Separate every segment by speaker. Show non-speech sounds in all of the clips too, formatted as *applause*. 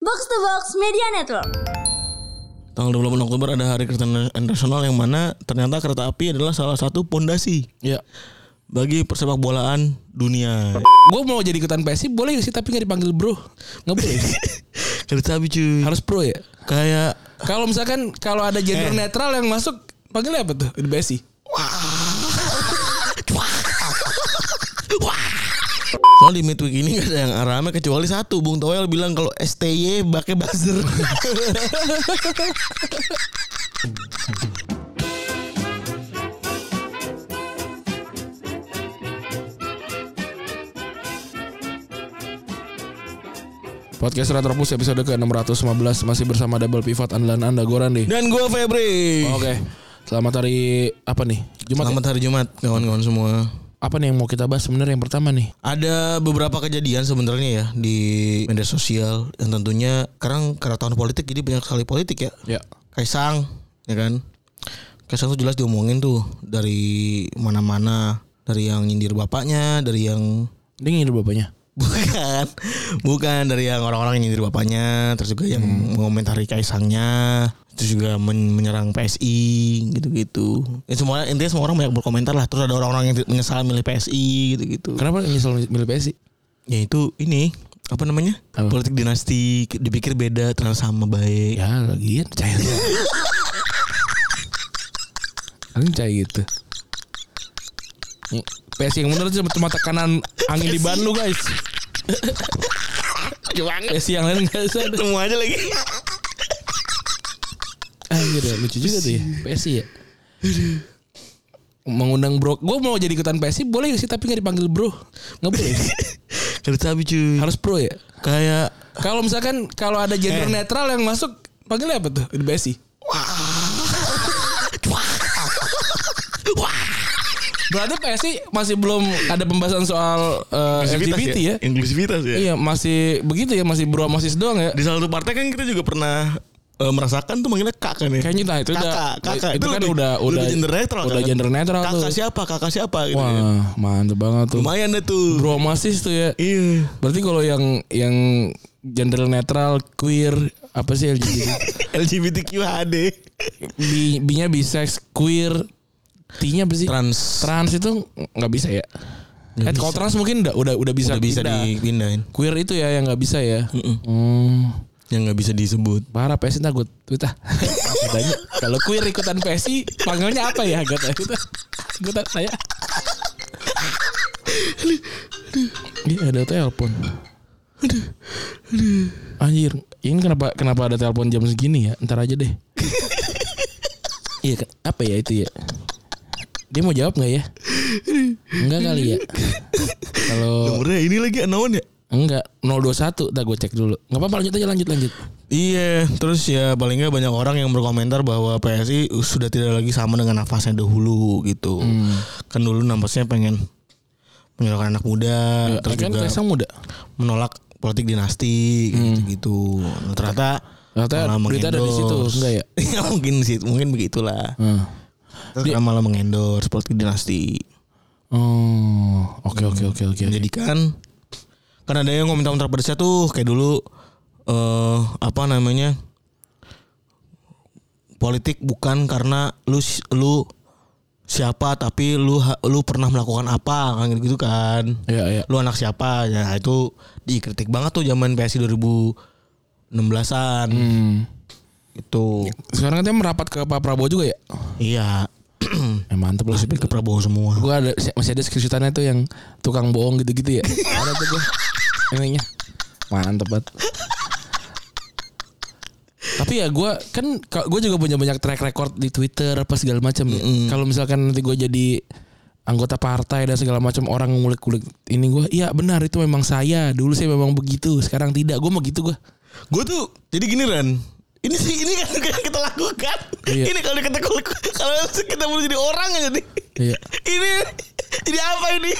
Speaker 1: Box to Box Media Network.
Speaker 2: Tanggal 28 Oktober ada Hari Kesehatan Internasional yang mana ternyata kereta api adalah salah satu pondasi
Speaker 3: Ya.
Speaker 2: bagi persepak bolaan dunia.
Speaker 3: *laughs* Gue mau jadi ikutan PSI boleh gak sih tapi nggak dipanggil bro. Nggak *laughs* boleh.
Speaker 2: kereta api cuy.
Speaker 3: Harus pro ya.
Speaker 2: kayak
Speaker 3: Kalau misalkan kalau ada
Speaker 2: Eh.
Speaker 3: gender netral yang masuk panggilnya apa tuh di PSI?
Speaker 2: Soalnya di midweek ini gak ada yang arame kecuali satu Bung Toel bilang kalau STY pakai buzzer.
Speaker 3: *laughs* Podcast Retropus episode ke-615 masih bersama double pivot andalan Anda Goran deh.
Speaker 2: Dan gue Febri.
Speaker 3: Oh, Oke. Selamat hari apa nih? Jumat. ya?
Speaker 2: Selamat hari Jumat kawan-kawan semua.
Speaker 3: Apa nih yang mau kita bahas sebenarnya yang pertama nih?
Speaker 2: Ada beberapa kejadian sebenarnya ya di media sosial yang tentunya sekarang karena tahun politik jadi banyak sekali politik ya.
Speaker 3: Ya.
Speaker 2: Kaisang ya kan. Kaisang tuh jelas diomongin tuh dari mana-mana, dari yang nyindir bapaknya, dari yang *laughs*
Speaker 3: Dia ngidul bapaknya.
Speaker 2: Bukan, bukan dari yang orang-orang yang nyindir bapaknya, terus juga yang
Speaker 3: Hmm.
Speaker 2: mengomentari kaisangnya, terus juga men- menyerang PSI gitu-gitu. Ya semua intinya semua orang banyak berkomentar lah. Terus ada orang-orang yang ti- menyesal milih PSI gitu-gitu.
Speaker 3: Kenapa nyesel milih PSI?
Speaker 2: Ya itu ini apa namanya?
Speaker 3: Apa?
Speaker 2: Politik dinasti ki- dipikir beda ternyata sama baik.
Speaker 3: Ya lagian cair. Angin cair gitu. Nih, PSI yang bener tuh cuma tekanan angin di ban lu guys. PSI yang lain enggak usah.
Speaker 2: Ketemu aja
Speaker 3: *laughs*
Speaker 2: lagi.
Speaker 3: Anjir ya, lucu juga tuh ya. PSI ya. Mengundang bro. Gue mau jadi ikutan PSI boleh gak sih tapi gak dipanggil bro. Gak boleh.
Speaker 2: Kereta api cuy.
Speaker 3: Harus pro ya.
Speaker 2: Kayak
Speaker 3: Kalau misalkan kalau ada gender
Speaker 2: Eh.
Speaker 3: netral yang masuk panggilnya apa tuh di PSI? Berarti PSI masih belum ada pembahasan soal eh, LGBT ya?
Speaker 2: Inklusivitas ya.
Speaker 3: Iya masih begitu ya masih bro sama sis doang ya?
Speaker 2: Di salah satu partai kan kita juga pernah eh, merasakan tuh manggilnya kak kan ya.
Speaker 3: Kayaknya nah itu udah
Speaker 2: kakak, kakak
Speaker 3: itu, kan udah udah
Speaker 2: gender netral
Speaker 3: udah
Speaker 2: kan?
Speaker 3: gender netral
Speaker 2: kakak
Speaker 3: tuh.
Speaker 2: siapa kakak siapa gitu kan.
Speaker 3: Wah mantep banget tuh.
Speaker 2: lumayan deh tuh
Speaker 3: Bro sama sis tuh ya.
Speaker 2: iya *laughs*
Speaker 3: Berarti kalau yang yang gender netral, queer, apa sih
Speaker 2: *laughs*
Speaker 3: LGBT?
Speaker 2: LGBTQ HD
Speaker 3: B, B-nya bisex, queer, T-nya apa sih?
Speaker 2: trans
Speaker 3: Trans itu nggak bisa ya.
Speaker 2: Nggak
Speaker 3: Eh, kalau trans mungkin udah udah udah
Speaker 2: udah
Speaker 3: bisa
Speaker 2: bisa
Speaker 3: pindah.
Speaker 2: dipindahin
Speaker 3: queer itu ya yang nggak bisa ya. Hmm.
Speaker 2: yang nggak bisa disebut
Speaker 3: Parah PSI ntar gue tweet ah. Gue tanya, Kalau queer ikutan PSI panggilnya apa ya? Gue tanya. Gue tanya. Dia ada telepon. Anjir, ini kenapa kenapa ada telepon jam segini ya? Ntar aja deh. Iya, ke- apa ya itu ya? Dia mau jawab nggak ya? Enggak kali ya. Kalau
Speaker 2: nomornya ini lagi unknown ya
Speaker 3: enggak 021, dah gue cek dulu. Enggak apa-apa lanjut aja lanjut lanjut.
Speaker 2: Iya, terus ya paling nggak banyak orang yang berkomentar bahwa PSI sudah tidak lagi sama dengan nafasnya dahulu gitu.
Speaker 3: Hmm.
Speaker 2: Kan dulu nafasnya pengen menyalurkan anak muda, terus
Speaker 3: kan
Speaker 2: juga
Speaker 3: Kaisang muda.
Speaker 2: menolak politik dinasti gitu-gitu. Nah, ternyata
Speaker 3: Hmm. Ternyata
Speaker 2: malah
Speaker 3: berita ada di situ,
Speaker 2: mengendorse. *laughs*
Speaker 3: enggak ya?
Speaker 2: ya mungkin sih, mungkin begitulah.
Speaker 3: Hmm.
Speaker 2: Terus karena malah mengendorse politik dinasti.
Speaker 3: Oh, oke oke oke oke.
Speaker 2: Menjadikan kan ada yang komentar-komentar pedesnya tuh kayak dulu eh apa namanya? Politik bukan karena lu si- lu siapa tapi lu ha- lu pernah melakukan apa kan gitu kan.
Speaker 3: Ya ya.
Speaker 2: lu anak siapa ya itu dikritik banget tuh zaman PSI 2016-an
Speaker 3: Hmm.
Speaker 2: itu
Speaker 3: Sekarang katanya merapat ke Pak Prabowo juga ya?
Speaker 2: iya *clears throat*
Speaker 3: Eh, mantep lah.
Speaker 2: lebih ke Prabowo semua
Speaker 3: Gue ada masih ada screenshotannya tuh yang tukang bohong gitu-gitu ya. ada tuh gue. Ininya. Mantep banget. Tapi ya gue kan gue juga punya banyak track record di Twitter apa segala macam ya. Kalau misalkan nanti gue jadi anggota partai dan segala macam orang ngulik-ngulik ini gue iya benar itu memang saya dulu saya memang begitu sekarang tidak gue mau gitu gue
Speaker 2: gue tuh jadi gini Ran ini sih ini kan kita lakukan
Speaker 3: Iya.
Speaker 2: ini kalau kita kalau kita mau jadi orang aja nih
Speaker 3: Iya.
Speaker 2: ini jadi apa ini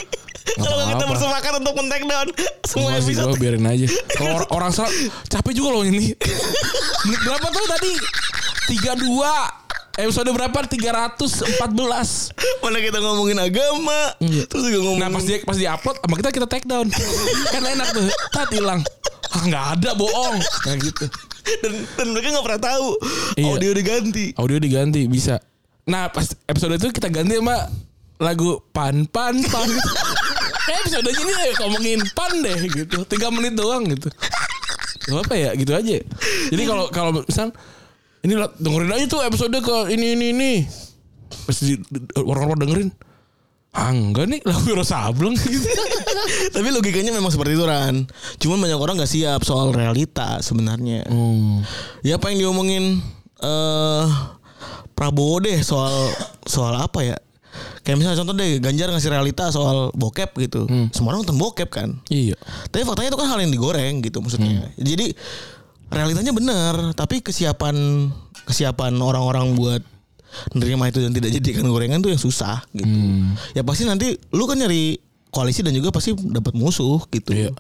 Speaker 2: kalau kita
Speaker 3: apa-apa.
Speaker 2: bersepakat untuk men down semua
Speaker 3: Enggak sih
Speaker 2: episode
Speaker 3: gue biarin aja Kalau or- orang salah Capek juga loh ini Menit berapa tuh tadi 32 Episode berapa 314
Speaker 2: mana kita ngomongin agama
Speaker 3: Iya.
Speaker 2: terus juga ngomongin
Speaker 3: Nah pas dia pas di upload sama kita kita take down Kan enak tuh Tat hilang ah nggak ada bohong nah gitu
Speaker 2: dan, dan mereka nggak pernah tahu
Speaker 3: Iya.
Speaker 2: audio
Speaker 3: *laughs*
Speaker 2: diganti
Speaker 3: audio diganti bisa nah pas episode itu kita ganti sama lagu pan pan pan Eh, episode ini ya ngomongin pan deh gitu tiga menit doang gitu Gak apa ya gitu aja jadi kalau kalau misal ini lah, dengerin aja tuh episode ke ini ini ini pasti orang-orang dengerin ah enggak nih lagu Rosableng gitu
Speaker 2: tapi logikanya memang seperti itu Ran cuman banyak orang nggak siap soal realita sebenarnya
Speaker 3: *laughs* hmm.
Speaker 2: ya apa yang diomongin eh Prabowo deh soal soal apa ya kayak misalnya contoh deh Ganjar ngasih realita soal bokep gitu
Speaker 3: Hmm.
Speaker 2: semua orang nonton bokep kan
Speaker 3: iya
Speaker 2: tapi faktanya itu kan hal yang digoreng gitu
Speaker 3: Hmm.
Speaker 2: maksudnya jadi realitanya benar tapi kesiapan kesiapan orang-orang buat menerima itu dan tidak jadikan gorengan tuh yang susah gitu
Speaker 3: Hmm.
Speaker 2: ya pasti nanti lu kan nyari koalisi dan juga pasti dapat musuh gitu
Speaker 3: Iya.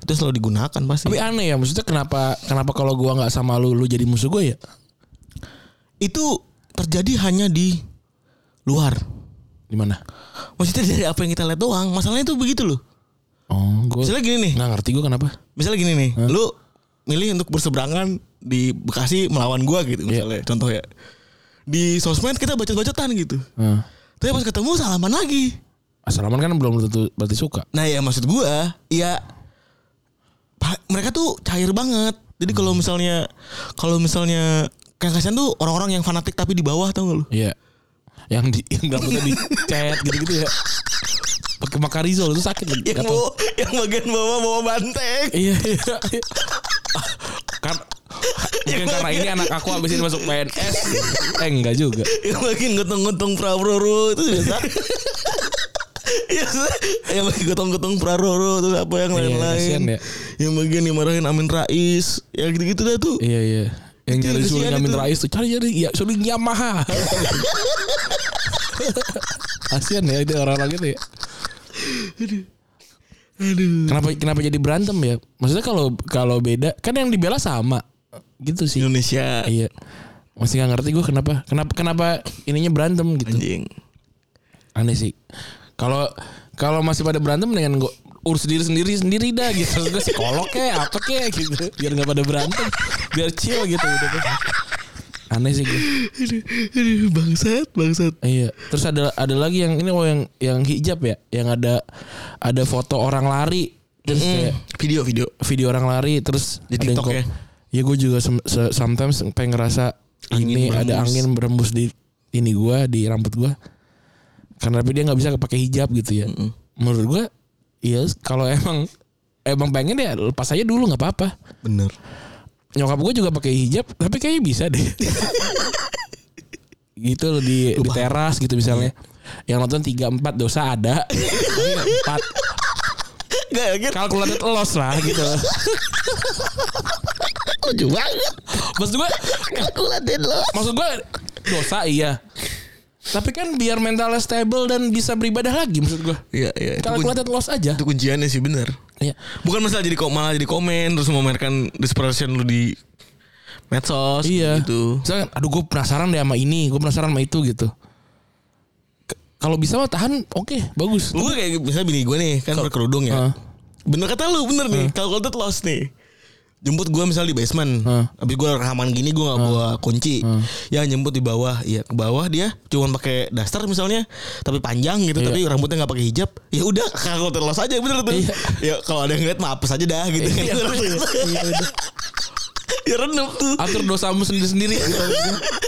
Speaker 2: itu selalu digunakan pasti
Speaker 3: tapi aneh ya maksudnya kenapa kenapa kalau gua nggak sama lu lu jadi musuh gua ya
Speaker 2: itu terjadi hanya di luar.
Speaker 3: di mana
Speaker 2: Maksudnya dari apa yang kita lihat doang. Masalahnya itu begitu loh.
Speaker 3: oh gua
Speaker 2: Misalnya gini nih.
Speaker 3: nggak ngerti gua kenapa
Speaker 2: Misalnya gini nih. Lu milih untuk berseberangan di Bekasi melawan gua gitu misalnya. Contoh ya. Di sosmed kita bacot-bacotan gitu.
Speaker 3: Heeh.
Speaker 2: Tapi pas ketemu salaman lagi.
Speaker 3: Salaman kan belum tentu berarti suka.
Speaker 2: Nah ya maksud gua ya pa- mereka tuh cair banget. Jadi kalau misalnya kalau misalnya kayak kasihan tuh orang-orang yang fanatik tapi di bawah tau gak lu?
Speaker 3: Iya. Yang di yang rambutnya di chat gitu-gitu ya. Pakai makarizol itu sakit
Speaker 2: Yang,
Speaker 3: gatal.
Speaker 2: bawa- yang bagian bawah bawa banteng.
Speaker 3: Iya iya. iya. kan mungkin karena ini anak aku habisin masuk PNS. eh enggak juga.
Speaker 2: yang makin gotong-gotong Prabowo itu
Speaker 3: *laughs*
Speaker 2: biasa. Ya, yang makin gotong-gotong Prabowo terus apa yang lain-lain.
Speaker 3: kasihan ya.
Speaker 2: Yang bagian dimarahin Amin Rais, ya gitu-gitu dah tuh.
Speaker 3: Iya iya. Yang
Speaker 2: Itu
Speaker 3: nyari
Speaker 2: yang
Speaker 3: suling
Speaker 2: kesian
Speaker 3: Amin
Speaker 2: itu.
Speaker 3: Rais tuh cari cari ya suling *laughs* Yamaha. Kasian ya itu orang-orang gitu ya.
Speaker 2: Aduh.
Speaker 3: Kenapa kenapa jadi berantem ya? Maksudnya kalau kalau beda kan yang dibela sama gitu sih.
Speaker 2: Indonesia
Speaker 3: Iya. Masih nggak ngerti gue kenapa kenapa kenapa ininya berantem gitu.
Speaker 2: anjing.
Speaker 3: Aneh sih. Kalau kalau masih pada berantem dengan gue urus diri sendiri sendiri dah gitu. Gue psikolog kayak apa kayak gitu. Biar nggak pada berantem. Biar chill gitu gitu. Aneh sih gue.
Speaker 2: Aduh, aduh, bangsat, bangsat.
Speaker 3: Iya. Terus ada ada lagi yang ini oh yang yang hijab ya, yang ada ada foto orang lari terus kayak
Speaker 2: Video-video.
Speaker 3: video orang lari terus
Speaker 2: Di
Speaker 3: ada yang
Speaker 2: TikTok
Speaker 3: kok-
Speaker 2: ya?
Speaker 3: Ya gue juga sem- se- sometimes pengen ngerasa "Ah,
Speaker 2: Angin
Speaker 3: ini ada
Speaker 2: berembus.
Speaker 3: angin berembus di ini gua di rambut gua. Karena tapi dia nggak bisa pakai hijab gitu ya. Menurut gua iya kalau emang emang pengen ya lepas aja dulu nggak apa-apa.
Speaker 2: Bener.
Speaker 3: Nyokap gue juga pakai hijab tapi kayaknya bisa
Speaker 2: *laughs*
Speaker 3: deh. gitu loh di, di teras gitu misalnya.
Speaker 2: Iya.
Speaker 3: Yang nonton 3 4 dosa
Speaker 2: *laughs*
Speaker 3: ada. 4
Speaker 2: Gak yakin
Speaker 3: kalkulator los lah
Speaker 2: *laughs*
Speaker 3: gitu.
Speaker 2: lucu banget.
Speaker 3: Maksud gue,
Speaker 2: Aku latihan lo.
Speaker 3: maksud gue dosa iya. Tapi kan biar mentalnya stable dan bisa beribadah lagi maksud gue.
Speaker 2: Iya, iya. Itu, kun-
Speaker 3: Kalkulator los aja.
Speaker 2: itu kunciannya sih bener.
Speaker 3: Iya.
Speaker 2: Bukan masalah jadi kok malah jadi komen terus memamerkan dispersion lu di medsos
Speaker 3: Iya.
Speaker 2: gitu.
Speaker 3: Misalkan, aduh gue penasaran deh sama ini, gue penasaran sama itu gitu. K- Kalau bisa mah tahan, oke, bagus.
Speaker 2: Gue kayak misalnya bini gue nih kan berkerudung ya. *laughs*
Speaker 3: Heeh.
Speaker 2: Bener kata lu bener nih. Calculated loss nih. Jemput gue misalnya di basement.
Speaker 3: Heeh.
Speaker 2: Habis gue rekaman gini gue gak bawa kunci. Ya jemput di bawah. Ya ke bawah dia cuman pakai daster misalnya. Tapi panjang gitu. Tapi rambutnya gak pakai hijab. Ya udah *laughs* calculated loss aja bener tuh.
Speaker 3: Iya.
Speaker 2: Ya kalau ada yang ngeliat maaf aja dah gitu.
Speaker 3: Iya, iya, udah.
Speaker 2: *laughs* ya renep tuh.
Speaker 3: Atur dosamu sendiri-sendiri.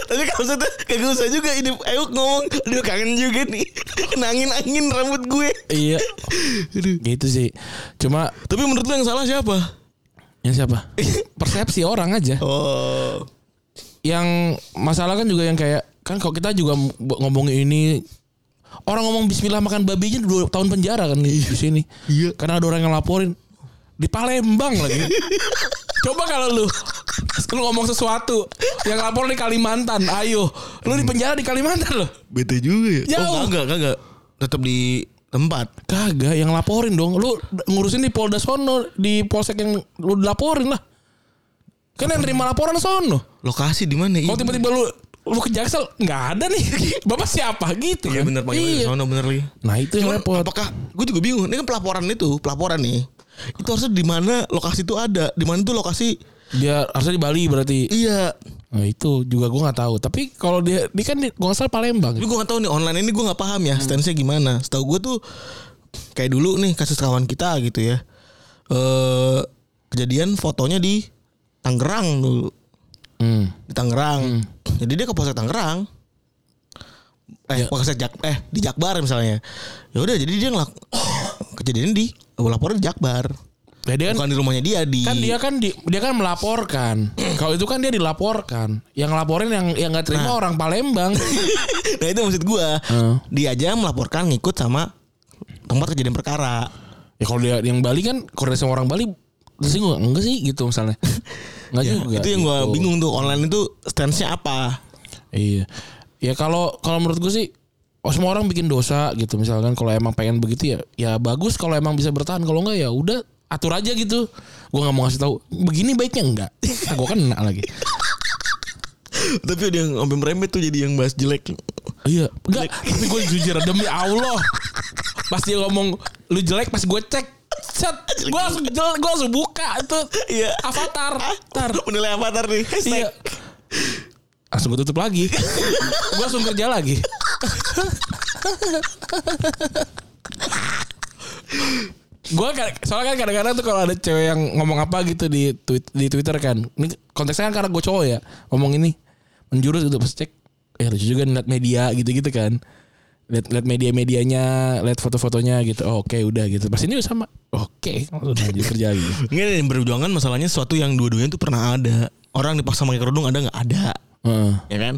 Speaker 2: Tapi kalau saya tuh kagak usah juga ini Euk ngomong Aduh kangen juga nih *laughs* Kenangin angin rambut gue
Speaker 3: iya. Gitu sih. Cuma
Speaker 2: Tapi menurut lu yang salah siapa?
Speaker 3: yang
Speaker 2: *laughs*
Speaker 3: siapa? Persepsi orang aja.
Speaker 2: Oh
Speaker 3: yang masalah kan juga yang kayak kan kalau kita juga m- ngomongin ini orang ngomong Bismillah makan babi aja dua tahun penjara kan di di sini.
Speaker 2: Iya.
Speaker 3: Karena ada orang yang laporin di Palembang lagi.
Speaker 2: *laughs*
Speaker 3: Coba kalau lu lu ngomong sesuatu yang lapor di Kalimantan, ayo. Lu di penjara di Kalimantan loh.
Speaker 2: Hmm. Bete juga
Speaker 3: Jauh.
Speaker 2: Oh kagak kagak Tetap di tempat
Speaker 3: Kagak yang laporin dong. Lu d- ngurusin di Polda sono, di polsek yang lu laporin lah. Kan yang terima laporan sono.
Speaker 2: Lokasi di mana
Speaker 3: Kalau tiba-tiba lu lu ke Jaksel nggak ada nih. *laughs* Bapak siapa gitu
Speaker 2: Iya
Speaker 3: kan?
Speaker 2: bener panggil
Speaker 3: Iya.
Speaker 2: iya. sono bener lagi
Speaker 3: Nah itu yang
Speaker 2: Cuman
Speaker 3: repot.
Speaker 2: apakah Gue juga bingung Ini kan pelaporan itu Pelaporan nih itu harusnya di mana lokasi itu ada di mana tuh lokasi
Speaker 3: Dia harusnya di Bali berarti.
Speaker 2: iya
Speaker 3: Nah, itu juga gue nggak tahu. Tapi kalau dia dia kan di- gua nggak salah Palembang.
Speaker 2: tapi gue nggak tahu nih online ini gue nggak paham
Speaker 3: Hmm.
Speaker 2: ya stance-nya gimana setahu gue tuh kayak dulu nih kasus kawan kita gitu ya eh kejadian fotonya di Tangerang dulu
Speaker 3: Hmm.
Speaker 2: di Tangerang. Jadi dia ke Polsek Tangerang. Eh,
Speaker 3: Ya.
Speaker 2: Polsek Jak eh di Jakbar misalnya. Ya udah jadi dia ngelak kejadian di laporan di Jakbar.
Speaker 3: Ya, dia kan,
Speaker 2: Bukan di rumahnya dia di
Speaker 3: kan dia kan di- dia kan
Speaker 2: *clears throat*
Speaker 3: melaporkan. kalau itu kan dia dilaporkan. Yang laporin yang yang nggak terima orang
Speaker 2: *laughs*
Speaker 3: Palembang.
Speaker 2: *laughs* Nah, itu maksud gua.
Speaker 3: Heeh.
Speaker 2: Dia aja melaporkan ngikut sama tempat kejadian perkara.
Speaker 3: ya kalau dia yang Bali kan koordinasi sama orang Bali terus gue enggak sih gitu misalnya.
Speaker 2: *laughs*
Speaker 3: Enggak juga.
Speaker 2: Iya, itu yang gua
Speaker 3: gitu.
Speaker 2: bingung tuh online itu stance-nya apa?
Speaker 3: Iya. Ya kalau kalau menurut gue sih oh, semua orang bikin dosa gitu misalkan kalau emang pengen begitu ya ya bagus kalau emang bisa bertahan kalau enggak ya udah atur aja gitu. Gua nggak mau ngasih tahu begini baiknya enggak. *laughs* Nah, gua kena lagi.
Speaker 2: Tapi dia yang sampai merembet tuh jadi yang bahas jelek.
Speaker 3: Iya, enggak. Tapi gue jujur demi Allah. Pas dia ngomong lu jelek pas gue cek set gue langsung jelek gue langsung buka itu
Speaker 2: Iya.
Speaker 3: avatar
Speaker 2: Tar, *laughs* menilai avatar nih. Hashtag.
Speaker 3: Ah, iya langsung gue tutup lagi gue langsung kerja lagi gue soalnya kan kadang-kadang tuh kalau ada cewek yang ngomong apa gitu di tweet, di twitter kan ini konteksnya kan karena gue cowok ya ngomong ini menjurus gitu pas cek ya lucu juga nih, liat media gitu-gitu kan lihat lihat media-medianya lihat foto-fotonya gitu Oh, oke udah gitu pas ini sama oke langsung lanjut kerja gitu. lagi
Speaker 2: Ini berjuangan masalahnya sesuatu yang dua-duanya tuh pernah ada. Orang dipaksa pakai kerudung ada nggak? Ada.
Speaker 3: Heeh,
Speaker 2: Ya kan?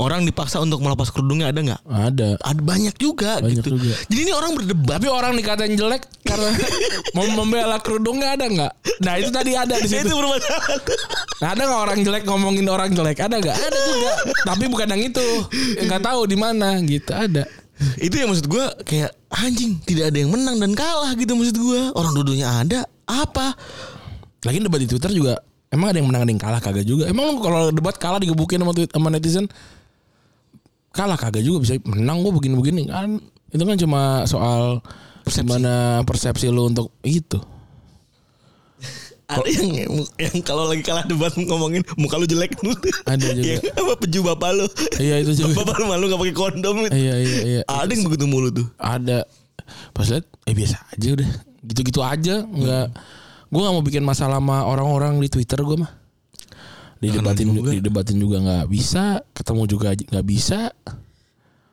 Speaker 2: Orang dipaksa untuk melepas kerudungnya ada nggak?
Speaker 3: ada
Speaker 2: Ada banyak juga
Speaker 3: Banyak
Speaker 2: gitu.
Speaker 3: juga.
Speaker 2: Jadi ini orang berdebat.
Speaker 3: Tapi orang dikatain jelek karena mau membela kerudung nggak ada nggak? Nah itu tadi
Speaker 2: *laughs*
Speaker 3: ada di
Speaker 2: itu
Speaker 3: situ.
Speaker 2: bermasalah.
Speaker 3: Nah, ada nggak orang jelek ngomongin orang jelek? Ada nggak? Ada juga. Tapi bukan yang itu. Yang Nggak tahu di mana gitu. Ada.
Speaker 2: itu yang maksud gua kayak anjing tidak ada yang menang dan kalah gitu maksud gua. Orang dua-duanya ada apa?
Speaker 3: Lagi debat di Twitter juga. Emang ada yang menang ada yang kalah kagak juga. Emang lu kalau debat kalah digebukin sama, tweet, sama netizen kalah kagak juga bisa menang gua begini-begini kan itu kan cuma soal gimana persepsi lu untuk itu
Speaker 2: Ada yang yang kalau lagi kalah debat ngomongin muka lu jelek lu.
Speaker 3: Ada
Speaker 2: *laughs*
Speaker 3: juga.
Speaker 2: Yang apa peju bapak lu.
Speaker 3: iya itu juga
Speaker 2: Bapak lu malu gak pakai kondom.
Speaker 3: iya iya iya
Speaker 2: Ada yang begitu mulu tuh.
Speaker 3: ada pas lihat eh biasa aja udah gitu-gitu aja nggak gue nggak mau bikin masalah sama orang-orang di twitter gue mah didebatin
Speaker 2: juga.
Speaker 3: didebatin juga nggak bisa ketemu juga aja nggak bisa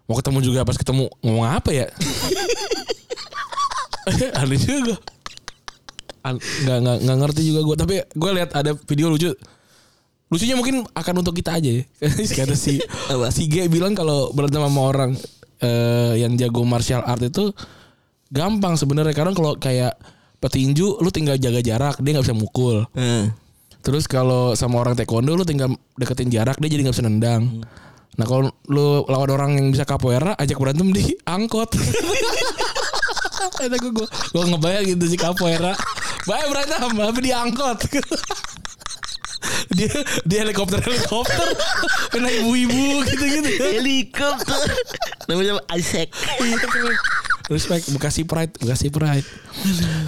Speaker 3: mau ketemu juga pas ketemu ngomong apa ya *laughs* aneh juga An- nggak nggak nggak ngerti juga gue tapi gue lihat ada video lucu lucunya mungkin akan untuk kita aja ya. *laughs* kata si
Speaker 2: Apa?
Speaker 3: si G bilang kalau berantem sama orang eh, yang jago martial art itu gampang sebenarnya karena kalau kayak petinju lu tinggal jaga jarak dia nggak bisa mukul
Speaker 2: Heeh.
Speaker 3: terus kalau sama orang taekwondo lu tinggal deketin jarak dia jadi nggak bisa nendang nah kalau lu lawan orang yang bisa capoeira ajak berantem di angkot ada gue gue gue ngebayang gitu si capoeira baik berantem tapi di angkot dia dia helikopter helikopter kena ibu-ibu gitu-gitu *laughs*
Speaker 2: Helikopter. Namanya Isaac.
Speaker 3: Respect Bekasi Pride, Bekasi Pride.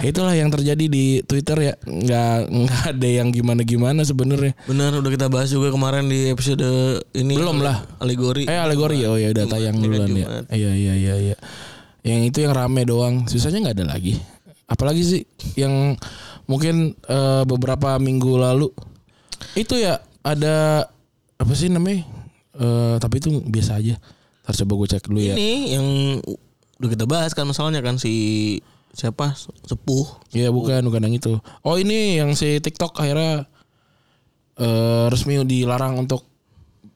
Speaker 3: Itulah yang terjadi di Twitter ya. Nggak nggak ada yang gimana-gimana sebenarnya.
Speaker 2: *laughs* Benar udah kita bahas juga kemarin di episode ini.
Speaker 3: Belum lah.
Speaker 2: Alegori.
Speaker 3: Eh alegori oh ya udah tayang duluan ya. Iya iya iya iya. Yang itu yang rame doang. Sisanya nggak ada lagi. Apalagi sih yang mungkin eh, beberapa minggu lalu itu ya ada apa sih namanya? Eh, tapi itu biasa aja. Ntar coba gue cek dulu ya.
Speaker 2: Ini yang udah kita bahas kan masalahnya kan si siapa sepuh
Speaker 3: Iya bukan bukan yang itu. Oh ini yang si TikTok akhirnya eh resmi dilarang untuk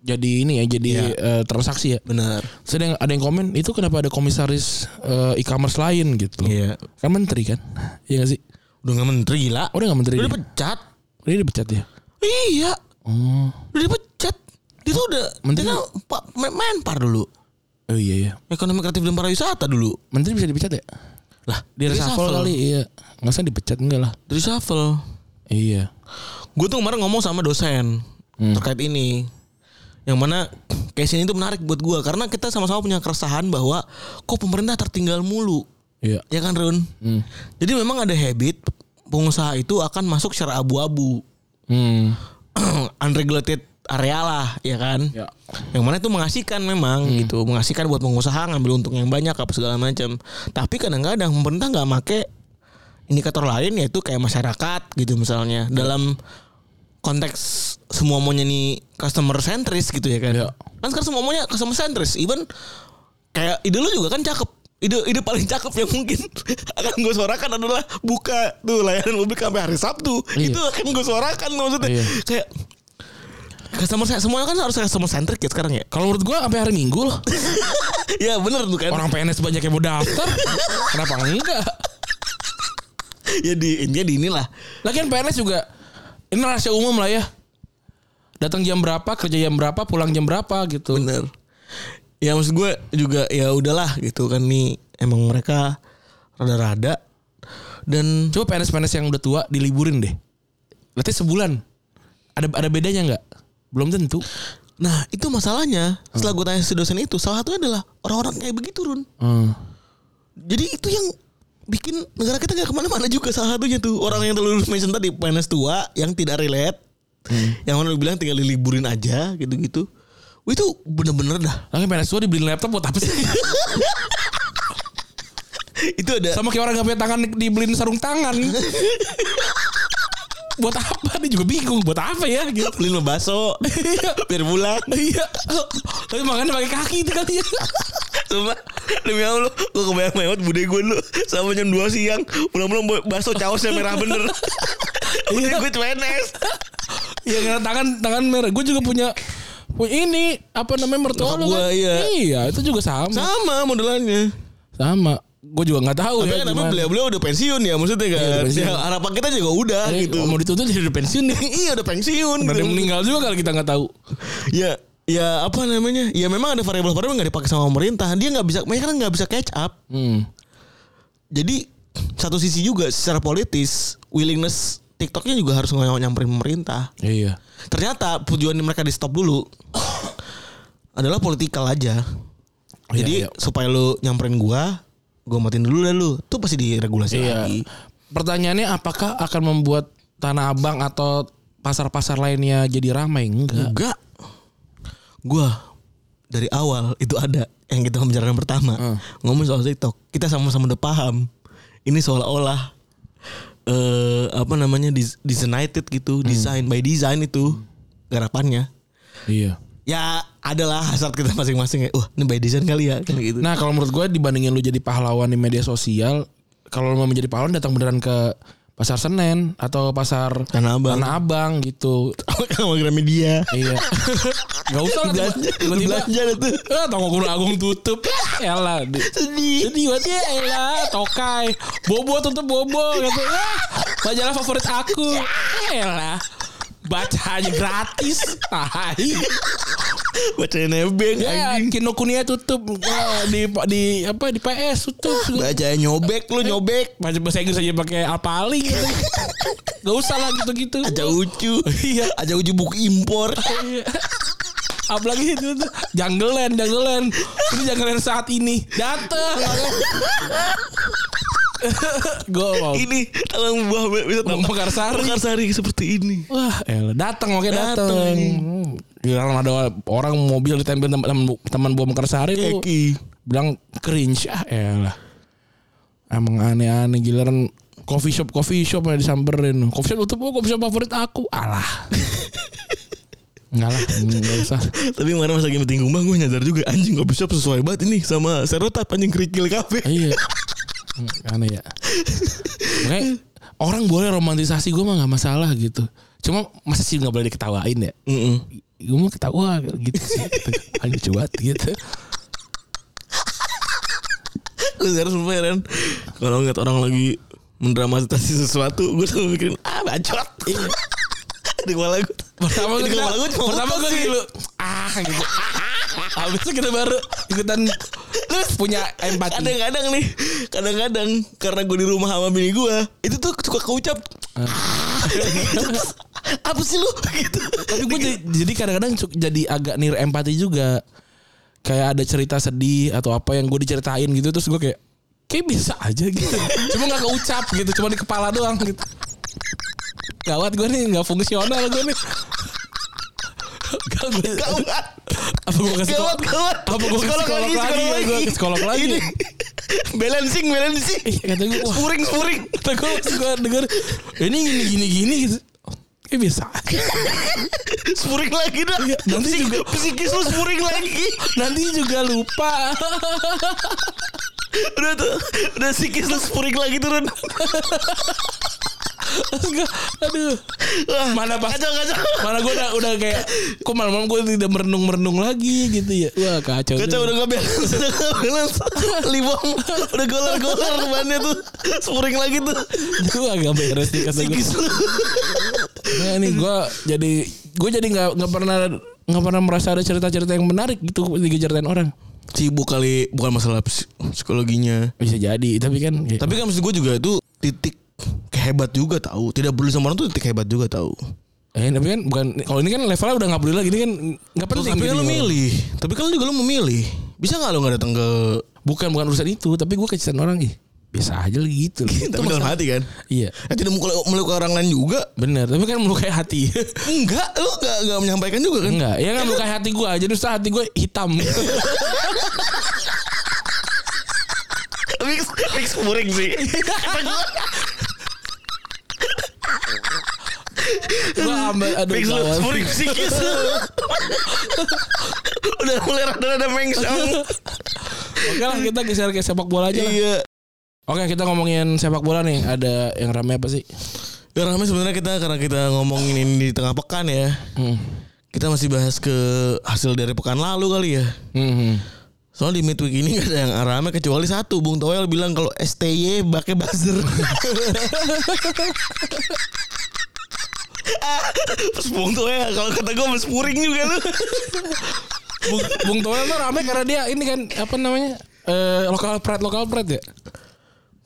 Speaker 3: jadi ini ya jadi eh, transaksi ya.
Speaker 2: benar
Speaker 3: Terus ada yang, ada yang komen itu kenapa ada komisaris eh, e-commerce lain gitu.
Speaker 2: iya
Speaker 3: Kan menteri kan? *laughs* Iya gak sih?
Speaker 2: udah nggak menteri gila
Speaker 3: Oh, Udah gak menteri.
Speaker 2: udah
Speaker 3: Dia,
Speaker 2: dipecat
Speaker 3: dia dipecat ya.
Speaker 2: iya
Speaker 3: Oh.
Speaker 2: udah dipecat dia tuh udah
Speaker 3: Menteri-
Speaker 2: dia kan pa- men- menpar dulu
Speaker 3: Oh iya iya.
Speaker 2: ekonomi kreatif dan pariwisata dulu
Speaker 3: Menteri bisa dipecat ya?
Speaker 2: lah
Speaker 3: Di reshuffle kali iya. Nggak usah dipecat enggak lah.
Speaker 2: di reshuffle
Speaker 3: Iya.
Speaker 2: gue tuh kemarin ngomong sama dosen
Speaker 3: Hmm.
Speaker 2: terkait ini yang mana case ini tuh menarik buat gue karena kita sama-sama punya keresahan bahwa kok pemerintah tertinggal mulu
Speaker 3: Iya.
Speaker 2: ya kan Run
Speaker 3: Hmm.
Speaker 2: jadi memang ada habit pengusaha itu akan masuk secara abu-abu
Speaker 3: Hmm.
Speaker 2: *clears throat* unregulated area lah ya kan
Speaker 3: Ya.
Speaker 2: yang mana itu mengasihkan memang gitu mengasihkan buat pengusaha ngambil untung yang banyak apa segala macam tapi kadang-kadang pemerintah nggak make indikator lain yaitu kayak masyarakat gitu misalnya dalam konteks semua maunya nih customer centris gitu ya kan
Speaker 3: Ya.
Speaker 2: kan sekarang semua maunya customer centris even kayak ide lu juga kan cakep ide ide paling cakep yang mungkin *laughs* akan gue suarakan adalah buka tuh layanan publik sampai hari Sabtu
Speaker 3: Iya.
Speaker 2: itu akan gue suarakan maksudnya
Speaker 3: Iya.
Speaker 2: kayak customer se- semuanya kan harus customer centric ya sekarang ya
Speaker 3: *laughs* Kalau menurut gua sampai hari Minggu *laughs* loh.
Speaker 2: ya bener tuh kan
Speaker 3: Orang PNS banyak yang mau daftar. Kenapa enggak?
Speaker 2: ya di intinya di inilah
Speaker 3: Lagian PNS juga ini rahasia umum lah ya. Datang jam berapa, kerja jam berapa, pulang jam berapa gitu.
Speaker 2: bener ya maksud gue juga ya udahlah gitu kan nih emang mereka rada-rada dan
Speaker 3: Coba PNS-PNS yang udah tua diliburin deh. Berarti sebulan. Ada ada bedanya nggak? Belum tentu.
Speaker 2: nah itu masalahnya setelah
Speaker 3: Hmm.
Speaker 2: gue tanya si dosen itu salah satunya adalah orang-orang kayak begitu Run Jadi itu yang bikin negara kita nggak kemana-mana juga salah satunya tuh orang yang terlalu mention tadi PNS tua yang tidak relate,
Speaker 3: Hmm.
Speaker 2: yang mana lu bilang tinggal diliburin aja gitu-gitu. Wah, Itu bener-bener dah. *laughs*
Speaker 3: Lagi PNS tua dibeliin laptop buat apa sih?
Speaker 2: itu ada
Speaker 3: Sama kayak orang gak punya tangan dibeliin sarung
Speaker 2: *laughs*
Speaker 3: tangan. buat apa? Dia juga bingung buat apa ya gitu.
Speaker 2: beliin sama baso *laughs* biar pulang.
Speaker 3: Iya. Tapi makannya pakai kaki itu kali ya.
Speaker 2: Sumpah demi Allah gue kebayang banget bude gue lu sama jam 2 siang pulang-pulang baso caosnya merah
Speaker 3: *laughs*
Speaker 2: bener. Bude gue PNS.
Speaker 3: Iya karena tangan tangan merah. Gue juga punya punya ini apa namanya
Speaker 2: Nyokap
Speaker 3: mertua lu
Speaker 2: gua,
Speaker 3: kan?
Speaker 2: iya.
Speaker 3: Iya, itu juga sama.
Speaker 2: Sama modelannya.
Speaker 3: Sama. Gue juga nggak tahu
Speaker 2: Tapi
Speaker 3: ya.
Speaker 2: kan emang
Speaker 3: gimana.
Speaker 2: beliau-beliau udah pensiun ya maksudnya kan.
Speaker 3: Iya, udah pensiun.
Speaker 2: Ya, harapan kita juga udah
Speaker 3: Eh,
Speaker 2: gitu.
Speaker 3: Mau dituntut jadi pensiun *laughs* nih.
Speaker 2: iya udah pensiun
Speaker 3: Ada
Speaker 2: gitu.
Speaker 3: yang meninggal juga kalau kita nggak tahu.
Speaker 2: ya ya apa namanya ya memang ada variabel-variabel nggak dipakai sama pemerintah dia nggak bisa mereka kan nggak bisa catch up
Speaker 3: Hmm.
Speaker 2: jadi satu sisi juga secara politis willingness TikToknya juga harus ngoyong nyamperin pemerintah
Speaker 3: Iya.
Speaker 2: ternyata tujuan mereka di stop dulu *coughs* adalah politikal aja jadi
Speaker 3: Iya, iya.
Speaker 2: supaya lu nyamperin gua gua matiin dulu dah lu tuh pasti diregulasi
Speaker 3: Iya.
Speaker 2: lagi
Speaker 3: Pertanyaannya apakah akan membuat Tanah Abang atau pasar-pasar lainnya jadi ramai? Enggak.
Speaker 2: enggak gua dari awal itu ada yang kita pembicaraan pertama
Speaker 3: Hmm.
Speaker 2: ngomong soal TikTok kita sama-sama udah paham ini seolah-olah eh apa namanya dis- designated
Speaker 3: Hmm.
Speaker 2: gitu design by design itu garapannya
Speaker 3: Iya.
Speaker 2: ya adalah hasrat kita masing-masing ya wah ini by design kali ya kan gitu
Speaker 3: Nah kalau menurut gue dibandingin lu jadi pahlawan di media sosial, kalau lu mau menjadi pahlawan datang beneran ke pasar Senen atau pasar
Speaker 2: Tanah Abang.
Speaker 3: Tanah Abang gitu.
Speaker 2: *laughs* sama Gramedia
Speaker 3: iya. *laughs* Gak usah lah
Speaker 2: belanja
Speaker 3: tiba- tiba-tiba.
Speaker 2: belanja dah tuh
Speaker 3: Ah, toko Gunung Agung tutup. Ya lah. *laughs*
Speaker 2: sedih
Speaker 3: Sedih banget ya elah tokai Bobo tutup bobo gitu ah, Majalah favorit aku Elah Baca aja gratis Tai
Speaker 2: bacain nebeng
Speaker 3: Ya
Speaker 2: anjing
Speaker 3: Kinokuniya tutup Ah, di, di apa di PS tutup
Speaker 2: bacain nyobek lu nyobek
Speaker 3: Baca bahasa Inggris aja pakai apali gitu Gak usah lah gitu-gitu
Speaker 2: aja *laughs* ucu
Speaker 3: Iya.
Speaker 2: aja ucu buku impor
Speaker 3: Iya. Apalagi itu tuh jungleland, jungleland. Ini jungleland saat ini. Dateng. *laughs* Gue
Speaker 2: ini talang buah bisa tambah
Speaker 3: Mekarsari.
Speaker 2: Mekarsari seperti ini
Speaker 3: Wah, elah, datang makanya datang.
Speaker 2: Dateng.
Speaker 3: Hmm. Bilang ada orang mobil ditempel teman teman buah Mekarsari tuh
Speaker 2: Eki
Speaker 3: bilang cringe ah elah. Emang aneh-aneh giliran coffee shop coffee shop yang disamperin. Coffee shop tutup oh, coffee shop favorit aku.
Speaker 2: *laughs*
Speaker 3: Alah. Enggak lah, enggak usah.
Speaker 2: tapi kemarin pas lagi meeting rumah gue nyadar juga anjing kopi shop sesuai banget ini sama stereotip anjing kerikil kafe
Speaker 3: Iya. Hmm, Aneh ya. Makanya orang boleh romantisasi gue mah nggak masalah gitu. Cuma masa sih nggak boleh diketawain ya?
Speaker 2: Mm-mm.
Speaker 3: Gue mau ketawa gitu sih. Gitu. Ayo coba gitu.
Speaker 2: gue sekarang sumpah ya, Ren kalau ngeliat orang lagi mendramatisasi sesuatu gue selalu mikirin ah bacot
Speaker 3: Iya.
Speaker 2: *laughs* di kepala gue
Speaker 3: Pertama gue
Speaker 2: Di kepala gue cuma
Speaker 3: pertama
Speaker 2: otak
Speaker 3: gue
Speaker 2: sih.
Speaker 3: dulu ah gitu. Habis itu kita baru ikutan terus punya empati.
Speaker 2: kadang-kadang nih kadang-kadang karena gue di rumah sama bini gue itu tuh suka keucap apa sih lu *laughs* gitu
Speaker 3: Tapi gue jadi, jadi kadang-kadang cuk- jadi agak nir empati juga. Kayak ada cerita sedih atau apa yang gue diceritain gitu terus gue kayak kayak biasa aja gitu cuma nggak keucap gitu cuma di kepala doang gitu gawat gue nih nggak fungsional gue nih Gawat.
Speaker 2: Gawat.
Speaker 3: Apa gue ke sekolah?
Speaker 2: Gawat, gawat.
Speaker 3: Apa gue ke sekolah lagi? ya? Gue ke sekolah lagi.
Speaker 2: Ini. balancing, balancing.
Speaker 3: Iya, kata gue, wah.
Speaker 2: spuring, spuring.
Speaker 3: Kata gue, gue denger ini gini gini gini gitu. Oh, Kayak biasa. aja.
Speaker 2: Spuring lagi dah.
Speaker 3: nanti
Speaker 2: Psik-
Speaker 3: Iya, juga-
Speaker 2: psikis lu spuring lagi.
Speaker 3: Nanti juga lupa.
Speaker 2: Udah tuh, udah psikis lu spuring lagi turun.
Speaker 3: Terus gue, aduh.
Speaker 2: Wah,
Speaker 3: Mana pas-
Speaker 2: Kacau, kacau.
Speaker 3: Mana gue udah, udah kayak, kok malam-malam gue tidak merenung-merenung lagi gitu ya. Wah kacau.
Speaker 2: Kacau udah gak balance, udah gak balance. Libong, udah goler-goler bannya tuh. Spuring lagi tuh.
Speaker 3: Gue agak beres nih kata gue.
Speaker 2: Psikis lu.
Speaker 3: Nah, ini gue jadi gue jadi nggak nggak pernah nggak pernah merasa ada cerita-cerita yang menarik gitu digejeritain orang.
Speaker 2: Sibuk kali, bukan masalah ps- psikologinya.
Speaker 3: Bisa jadi, tapi kan ya,
Speaker 2: Tapi kan maksud gue juga itu titik kehebat juga tahu. Tidak peduli sama orang tuh titik hebat juga tahu.
Speaker 3: eh, tapi kan bukan kalau ini kan levelnya udah nggak peduli lagi ini kan nggak penting.
Speaker 2: Tapi kan
Speaker 3: gitu.
Speaker 2: lu milih. Tapi kan lu juga lu memilih. Bisa nggak lu nggak datang ke
Speaker 3: Bukan bukan urusan itu, tapi gue kecintaan orang ih biasa aja lagi gitu. loh. Itu
Speaker 2: tapi dalam
Speaker 3: masalah.
Speaker 2: hati kan?
Speaker 3: Iya.
Speaker 2: Eh, tidak melukai, melukai orang lain juga.
Speaker 3: Bener, tapi kan melukai hati.
Speaker 2: Enggak, lu enggak enggak menyampaikan juga kan?
Speaker 3: Enggak, ya kan melukai hati gue. Jadi setelah hati gue hitam.
Speaker 2: *laughs* Mix mix muring
Speaker 3: *laughs*
Speaker 2: sih.
Speaker 3: gue ambil aduh.
Speaker 2: mix lu
Speaker 3: gawat.
Speaker 2: muring
Speaker 3: *laughs*
Speaker 2: psikis. Udah mulai rada-rada mengsong.
Speaker 3: Oke lah kita geser ke sepak bola aja lah.
Speaker 2: iya.
Speaker 3: Oke kita ngomongin sepak bola nih. Ada yang rame apa sih?
Speaker 2: Ya ramai sebenarnya kita karena kita ngomongin ini di tengah pekan ya.
Speaker 3: Hmm.
Speaker 2: Kita masih bahas ke hasil dari pekan lalu kali ya.
Speaker 3: Hmm.
Speaker 2: Soalnya di midweek ini gak ada yang arame kecuali satu. Bung Toel bilang kalau STY pakai buzzer. *laughs* Terus Bung Toel kalau kata gue mespuring juga lu.
Speaker 3: Bung, Bung Toel tuh rame karena dia ini kan apa namanya? Eh lokal pride lokal pride ya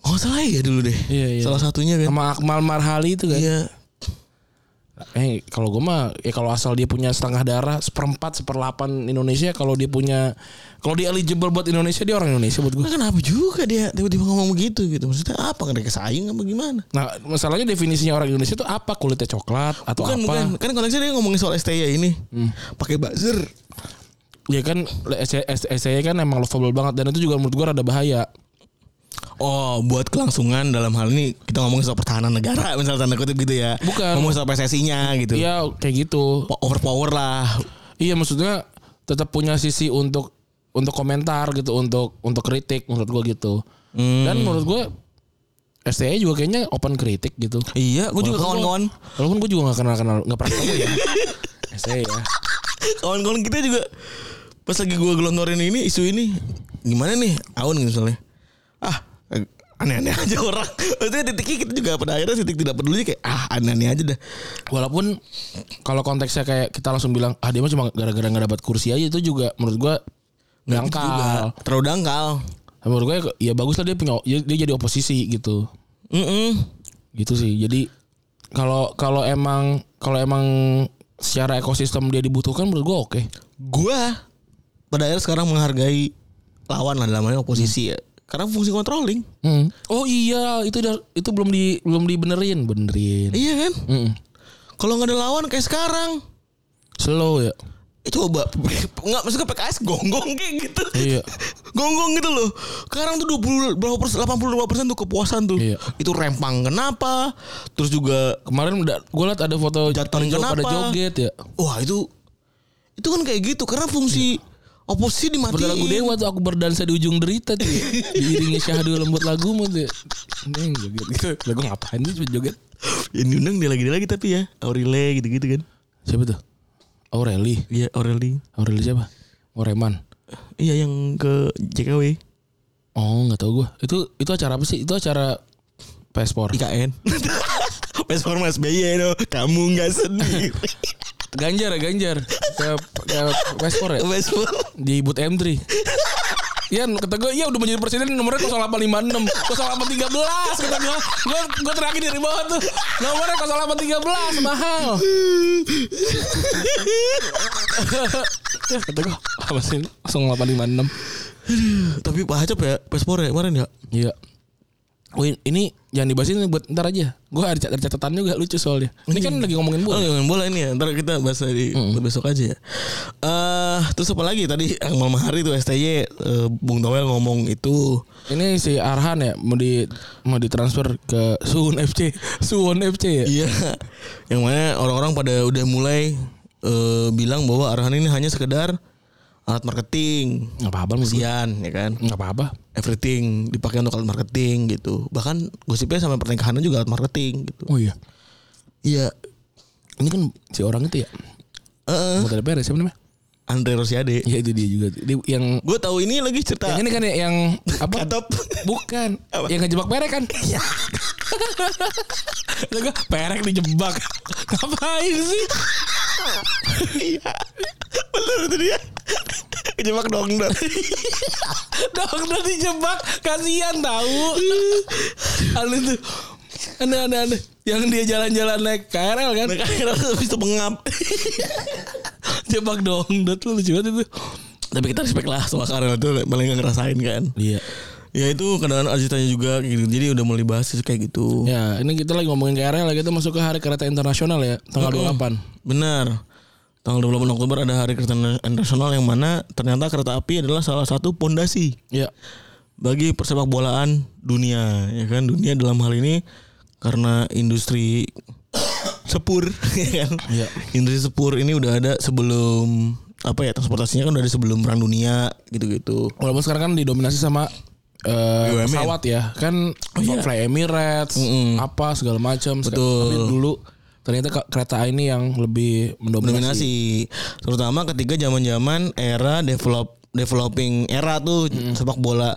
Speaker 2: Oh salah ya dulu deh.
Speaker 3: Iya, iya.
Speaker 2: Salah satunya kan.
Speaker 3: sama Akmal Marhali itu kan.
Speaker 2: Iya.
Speaker 3: Eh kalau gue mah ya kalau asal dia punya setengah darah seperempat seperlapan Indonesia kalau dia punya kalau dia eligible buat Indonesia dia orang Indonesia buat gue.
Speaker 2: Nah, kenapa juga dia tiba-tiba ngomong begitu gitu? Maksudnya apa? Nggak ada saing apa gimana?
Speaker 3: Nah masalahnya definisinya orang Indonesia itu apa kulitnya coklat atau
Speaker 2: Bukan,
Speaker 3: apa? Hmm.
Speaker 2: bukan. Kan konteksnya dia ngomongin soal STY ini. Pakai buzzer.
Speaker 3: Ya kan SCI kan emang lovable banget dan itu juga menurut gue rada bahaya.
Speaker 2: Oh, buat kelangsungan dalam hal ini kita ngomongin soal pertahanan negara, misalnya tanda kutip gitu ya.
Speaker 3: Bukan.
Speaker 2: Ngomongin soal PSSI-nya gitu.
Speaker 3: Iya kayak gitu.
Speaker 2: po- overpower lah.
Speaker 3: Iya maksudnya tetap punya sisi untuk untuk komentar gitu, untuk untuk kritik menurut gua gitu.
Speaker 2: Hmm.
Speaker 3: Dan menurut gua STI juga kayaknya open kritik gitu.
Speaker 2: Iya, gue juga
Speaker 3: Walaupun
Speaker 2: kawan-kawan.
Speaker 3: gua- Walaupun gue juga gak kenal kenal nggak pernah kenal
Speaker 2: *laughs*
Speaker 3: ya. STI ya.
Speaker 2: Kawan-kawan kita juga pas lagi gue gelontorin ini isu ini gimana nih Aun gitu misalnya ah eh, aneh-aneh aja orang maksudnya titiknya kita juga pada akhirnya titik tidak peduli kayak ah aneh-aneh aja dah
Speaker 3: Walaupun kalau konteksnya kayak kita langsung bilang ah dia mah cuma gara-gara nggak dapat kursi aja itu juga menurut gua
Speaker 2: Nggak gitu juga.
Speaker 3: dangkal.
Speaker 2: terlalu dangkal
Speaker 3: Menurut gue ya bagus lah dia punya dia dia jadi oposisi gitu.
Speaker 2: Mm-mm.
Speaker 3: gitu sih jadi kalau kalau emang kalau emang secara ekosistem dia dibutuhkan menurut gua oke
Speaker 2: gue pada akhirnya sekarang menghargai lawan lah dalam hal ini oposisi ya karena fungsi controlling
Speaker 3: oh iya itu udah- itu belum di belum dibenerin benerin
Speaker 2: iya kan
Speaker 3: Mm-mm.
Speaker 2: kalau nggak ada lawan kayak sekarang
Speaker 3: slow ya
Speaker 2: Eh, coba *laughs* nggak maksudnya PKS gonggong kayak gitu
Speaker 3: Iya.
Speaker 2: *laughs* gonggong gitu loh sekarang tuh 20 berapa persen 82 persen tuh kepuasan tuh
Speaker 3: Iya.
Speaker 2: itu rempang kenapa terus juga
Speaker 3: kemarin udah gue liat ada foto
Speaker 2: Jatuhin
Speaker 3: Jo pada
Speaker 2: kenapa?
Speaker 3: joget ya
Speaker 2: wah itu itu kan kayak gitu karena fungsi oposisi
Speaker 3: pada lagu
Speaker 2: dimatiin *laughs*
Speaker 3: dewa tuh aku berdansa di ujung derita tuh ya. diiringi syahdu lembut lagumu tuh ya. Ini yang joget gitu lagu ngapain sih cuma joget
Speaker 2: yang Ya, diundang dia lagi dia lagi tapi ya Aurelie gitu gitu kan
Speaker 3: siapa tuh Aureli
Speaker 2: iya Aurelie
Speaker 3: Aureli siapa Oreman
Speaker 2: iya yang ke JKW
Speaker 3: oh nggak tahu gua itu itu acara apa sih itu acara PS4
Speaker 2: IKN *laughs* Pespor Mas BY no. kamu nggak sedih *laughs*
Speaker 3: Ganjar ya Ganjar ke, ke Westpor ya
Speaker 2: Pespor
Speaker 3: di Bud M3 Iya kata gue Iya udah menjadi presiden nomornya 0856 0813 kata gue Gue, gue terakhir dari bawah tuh Nomornya 0813 mahal *laughs* Kata gue Apa sih ini? 0856
Speaker 2: Tapi Pak Hacep ya Pespor ya kemarin ya
Speaker 3: Iya. Oh, ini yang dibahas ini buat ntar aja. Gue ada, cat- ada catatan juga lucu soalnya. Ini kan lagi ngomongin
Speaker 2: Oh,
Speaker 3: bola.
Speaker 2: ngomongin bola ini ya. Ntar kita bahas di besok aja ya. Eh, terus apa lagi tadi Akmal Mahari itu STY eh, Bung Towel ngomong itu
Speaker 3: Ini si Arhan ya mau di mau ditransfer ke Suwon FC, Suwon FC ya.
Speaker 2: Iya. *laughs* Yang mana orang-orang pada udah mulai eh, bilang bahwa arahan ini hanya sekedar alat marketing.
Speaker 3: Nggak apa-apa menurut gua.
Speaker 2: Sian ya kan.
Speaker 3: Nggak apa-apa.
Speaker 2: Everything dipakai untuk alat marketing gitu. Bahkan gosipnya sampai pernikahannya juga alat marketing gitu.
Speaker 3: Oh iya.
Speaker 2: Iya.
Speaker 3: Ini kan si orang itu ya.
Speaker 2: Heeh.
Speaker 3: Mau ada beres siapa namanya?
Speaker 2: Andre Rosiade.
Speaker 3: Ya itu dia juga. Dia yang
Speaker 2: Gue tahu ini lagi cerita.
Speaker 3: yang ini kan ya yang apa?
Speaker 2: Katop.
Speaker 3: *laughs* Bukan.
Speaker 2: Apa?
Speaker 3: Yang ngejebak perek kan? *laughs* Lah gua, perek dijebak. *laughs* Ngapain sih?
Speaker 2: Iya. Bener itu dia. Kejebak dong dong.
Speaker 3: Dokter dijebak kasihan *laughs* tahu. Anu tuh. Anu anu anu. Yang dia jalan-jalan naik KRL kan.
Speaker 2: Nah, akhirnya habis itu mengap.
Speaker 3: Jebak dong. Dot lu lucu banget itu.
Speaker 2: Tapi kita respect lah sama Karel itu paling nggak ngerasain kan.
Speaker 3: Iya.
Speaker 2: Ya itu kadang-kadang ajutannya juga gitu. Jadi udah mulai bahas itu kayak gitu.
Speaker 3: Ya, ini kita lagi ngomongin KRL ya. kita masuk ke hari kereta internasional ya, tanggal 28.
Speaker 2: Benar. Tanggal 28 Oktober ada Hari Kereta Internasional yang mana ternyata kereta api adalah salah satu pondasi
Speaker 3: Iya.
Speaker 2: bagi persepak bolaan dunia, ya kan? Dunia dalam hal ini karena industri sepur, *coughs* ya kan?
Speaker 3: Iya.
Speaker 2: Industri sepur ini udah ada sebelum apa ya transportasinya kan udah ada sebelum perang dunia gitu-gitu.
Speaker 3: Walaupun sekarang kan didominasi sama eh,
Speaker 2: BUMN.
Speaker 3: pesawat ya, kan
Speaker 2: Oh, iya.
Speaker 3: Fly Emirates, apa segala macam.
Speaker 2: Betul.
Speaker 3: Tapi dulu ternyata ke- kereta ini yang lebih mendominasi.
Speaker 2: dominasi terutama ketika zaman-zaman era develop developing era tuh sepak bola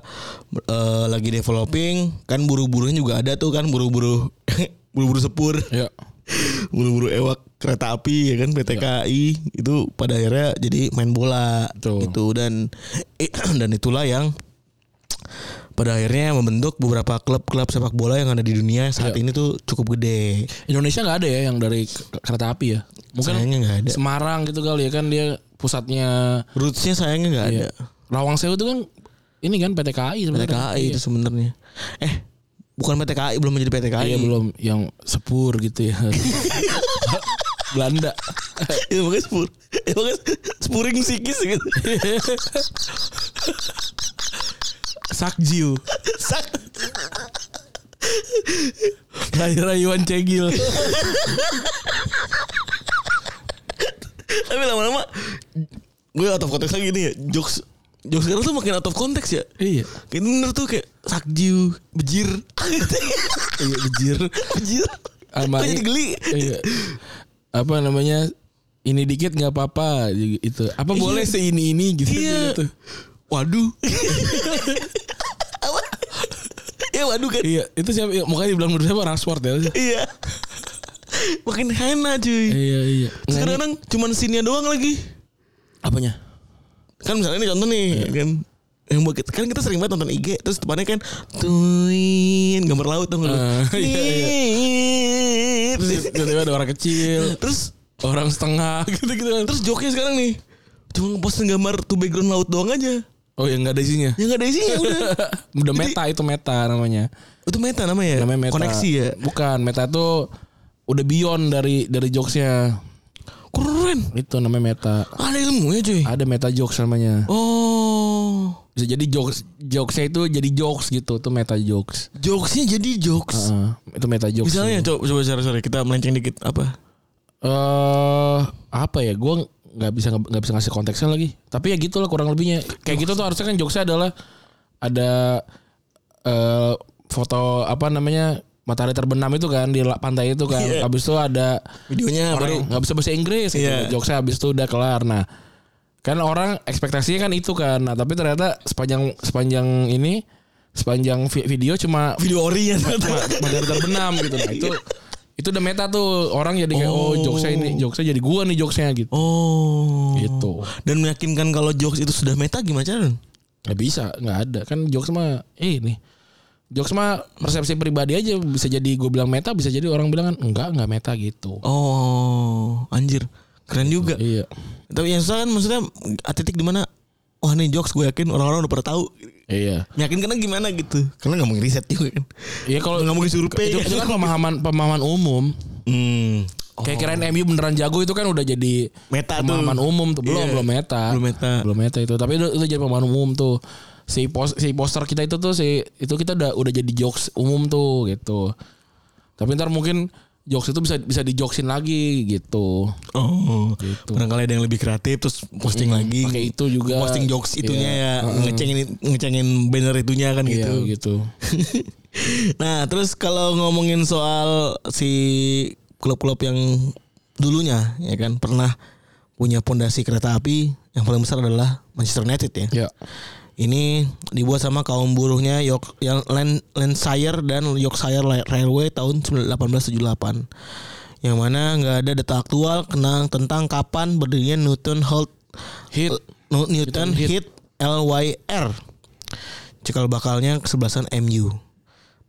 Speaker 2: eh, lagi developing kan buru-burunya juga ada tuh kan buru-buru *coughs* buru-buru sepur
Speaker 3: Iya.
Speaker 2: buru-buru ewak kereta api ya kan PT KAI itu pada akhirnya jadi main bola
Speaker 3: Ya. Betul.
Speaker 2: gitu dan *clears throat* dan itulah yang pada akhirnya membentuk beberapa klub-klub sepak bola yang ada di dunia saat
Speaker 3: Ya.
Speaker 2: ini tuh cukup gede.
Speaker 3: Indonesia nggak ada ya yang dari ke- kereta api ya. Mungkin
Speaker 2: Sayangnya nggak ada.
Speaker 3: Semarang gitu kali ya kan dia pusatnya
Speaker 2: Rootsnya sayangnya nggak ada.
Speaker 3: Iya. Lawang Sewu itu kan ini kan PT KAI
Speaker 2: PT KAI
Speaker 3: Iya.
Speaker 2: itu sebenarnya. Eh, bukan PT KAI belum menjadi PT KAI.
Speaker 3: Iya
Speaker 2: *laughs*
Speaker 3: belum yang sepur gitu ya. Belanda.
Speaker 2: Itu makanya spur. Itu makanya spuring sikis gitu. *laughs*
Speaker 3: Sakjil.
Speaker 2: Sak.
Speaker 3: Rayu-rayuan cegil.
Speaker 2: Tapi lama-lama gue out of konteks lagi nih ya. Jokes jokes sekarang tuh makin out of konteks ya.
Speaker 3: iya.
Speaker 2: Kayak bener tuh kayak sakjiu, bejir. *laughs*
Speaker 3: Iya bejir.
Speaker 2: bejir.
Speaker 3: Sama
Speaker 2: Gue jadi geli.
Speaker 3: Iya. Apa namanya? Ini dikit nggak apa-apa itu. Apa boleh seini ini gitu
Speaker 2: Iya.
Speaker 3: gitu.
Speaker 2: Waduh. Apa? Ya waduh kan.
Speaker 3: Iya, itu siapa? ya, Makanya dibilang menurut siapa orang sport ya.
Speaker 2: Iya. Makin hena cuy.
Speaker 3: Iya, iya.
Speaker 2: Terus kadang-kadang cuman sini doang lagi.
Speaker 3: apanya? Iya.
Speaker 2: kan misalnya ini contoh nih kan yang buat kita, kan kita sering banget nonton IG terus depannya kan tuin gambar laut tuh
Speaker 3: Ah, iya, iya. Terus
Speaker 2: terus
Speaker 3: tiba-tiba ada orang kecil,
Speaker 2: terus
Speaker 3: orang setengah gitu-gitu.
Speaker 2: terus joknya sekarang nih cuma ngepostin gambar tuh background laut doang aja
Speaker 3: Oh, yang nggak ada isinya.
Speaker 2: yang nggak ada isinya Iya, udah
Speaker 3: *laughs* Udah meta itu meta namanya.
Speaker 2: itu meta namanya ya
Speaker 3: Namanya meta.
Speaker 2: koneksi ya
Speaker 3: Bukan, meta itu udah beyond dari dari jokesnya.
Speaker 2: keren
Speaker 3: Itu namanya meta.
Speaker 2: ada ilmunya cuy
Speaker 3: Ada meta jokes namanya.
Speaker 2: oh
Speaker 3: Bisa jadi jokes jokesnya itu jadi jokes gitu, itu meta jokes.
Speaker 2: jokesnya jadi jokes
Speaker 3: Heeh, itu meta Ah, jokes. ya.
Speaker 2: misalnya coba coba sorry, sorry kita melenceng dikit apa
Speaker 3: eh apa ya? Gua nggak bisa nggak bisa ngasih konteksnya lagi. Tapi ya gitu lah kurang lebihnya. Kayak gitu tuh harusnya kan jokesnya adalah ada eh foto apa namanya matahari terbenam itu kan di la- pantai itu kan.
Speaker 2: Iya.
Speaker 3: Habis itu ada
Speaker 2: videonya
Speaker 3: orang
Speaker 2: baru
Speaker 3: yang nggak bisa bahasa Inggris gitu.
Speaker 2: Iya.
Speaker 3: Jokesnya habis itu udah kelar. Nah, kan orang ekspektasinya kan itu kan. Nah, tapi ternyata sepanjang sepanjang ini sepanjang vi- video cuma
Speaker 2: video ori ya
Speaker 3: matahari terbenam gitu. Nah, itu itu udah meta tuh orang jadi kayak
Speaker 2: Oh.
Speaker 3: oh, jokesnya ini jokesnya jadi gua nih jokesnya gitu.
Speaker 2: Oh.
Speaker 3: Gitu.
Speaker 2: Dan meyakinkan kalau jokes itu sudah meta gimana cara?
Speaker 3: Gak bisa, nggak ada. Kan jokes mah eh, ini. Jokes mah persepsi pribadi aja bisa jadi gue bilang meta bisa jadi orang bilang kan enggak enggak meta gitu.
Speaker 2: Oh, anjir. Keren juga.
Speaker 3: Iya.
Speaker 2: Tapi yang susah kan maksudnya titik di mana wah nih jokes gue yakin orang-orang udah pada tahu
Speaker 3: Iya.
Speaker 2: yakin karena gimana gitu karena nggak mungkin riset juga kan
Speaker 3: Iya kalau
Speaker 2: nggak mungkin survei ya
Speaker 3: itu, itu kan pemahaman pemahaman umum.
Speaker 2: hmm.
Speaker 3: Kayak kirain MU beneran jago itu kan udah jadi
Speaker 2: meta tuh
Speaker 3: pemahaman umum tuh
Speaker 2: Iya.
Speaker 3: belum belum meta.
Speaker 2: Belum meta.
Speaker 3: Belum meta itu. Tapi itu, itu jadi pemahaman umum tuh. Si pos, si poster kita itu tuh si itu kita udah udah jadi jokes umum tuh gitu. Tapi ntar mungkin jokes itu bisa bisa dijoksin lagi gitu.
Speaker 2: oh barangkali ada yang lebih kreatif terus posting lagi
Speaker 3: Pakai itu juga.
Speaker 2: posting jokes itunya ya
Speaker 3: Iya.
Speaker 2: ngecengin ngecengin banner itunya kan
Speaker 3: Iya,
Speaker 2: gitu
Speaker 3: gitu.
Speaker 2: nah terus kalau ngomongin soal si klub-klub yang dulunya ya kan pernah punya pondasi kereta api yang paling besar adalah Manchester United ya.
Speaker 3: Ya.
Speaker 2: Ini dibuat sama kaum buruhnya York, yang Lan- Lancashire dan Yorkshire Railway tahun 1878. Yang mana nggak ada data aktual kenang tentang kapan berdirinya Newton Holt
Speaker 3: Hit.
Speaker 2: Nu- Newton Heat LYR. Cikal bakalnya kesebelasan MU.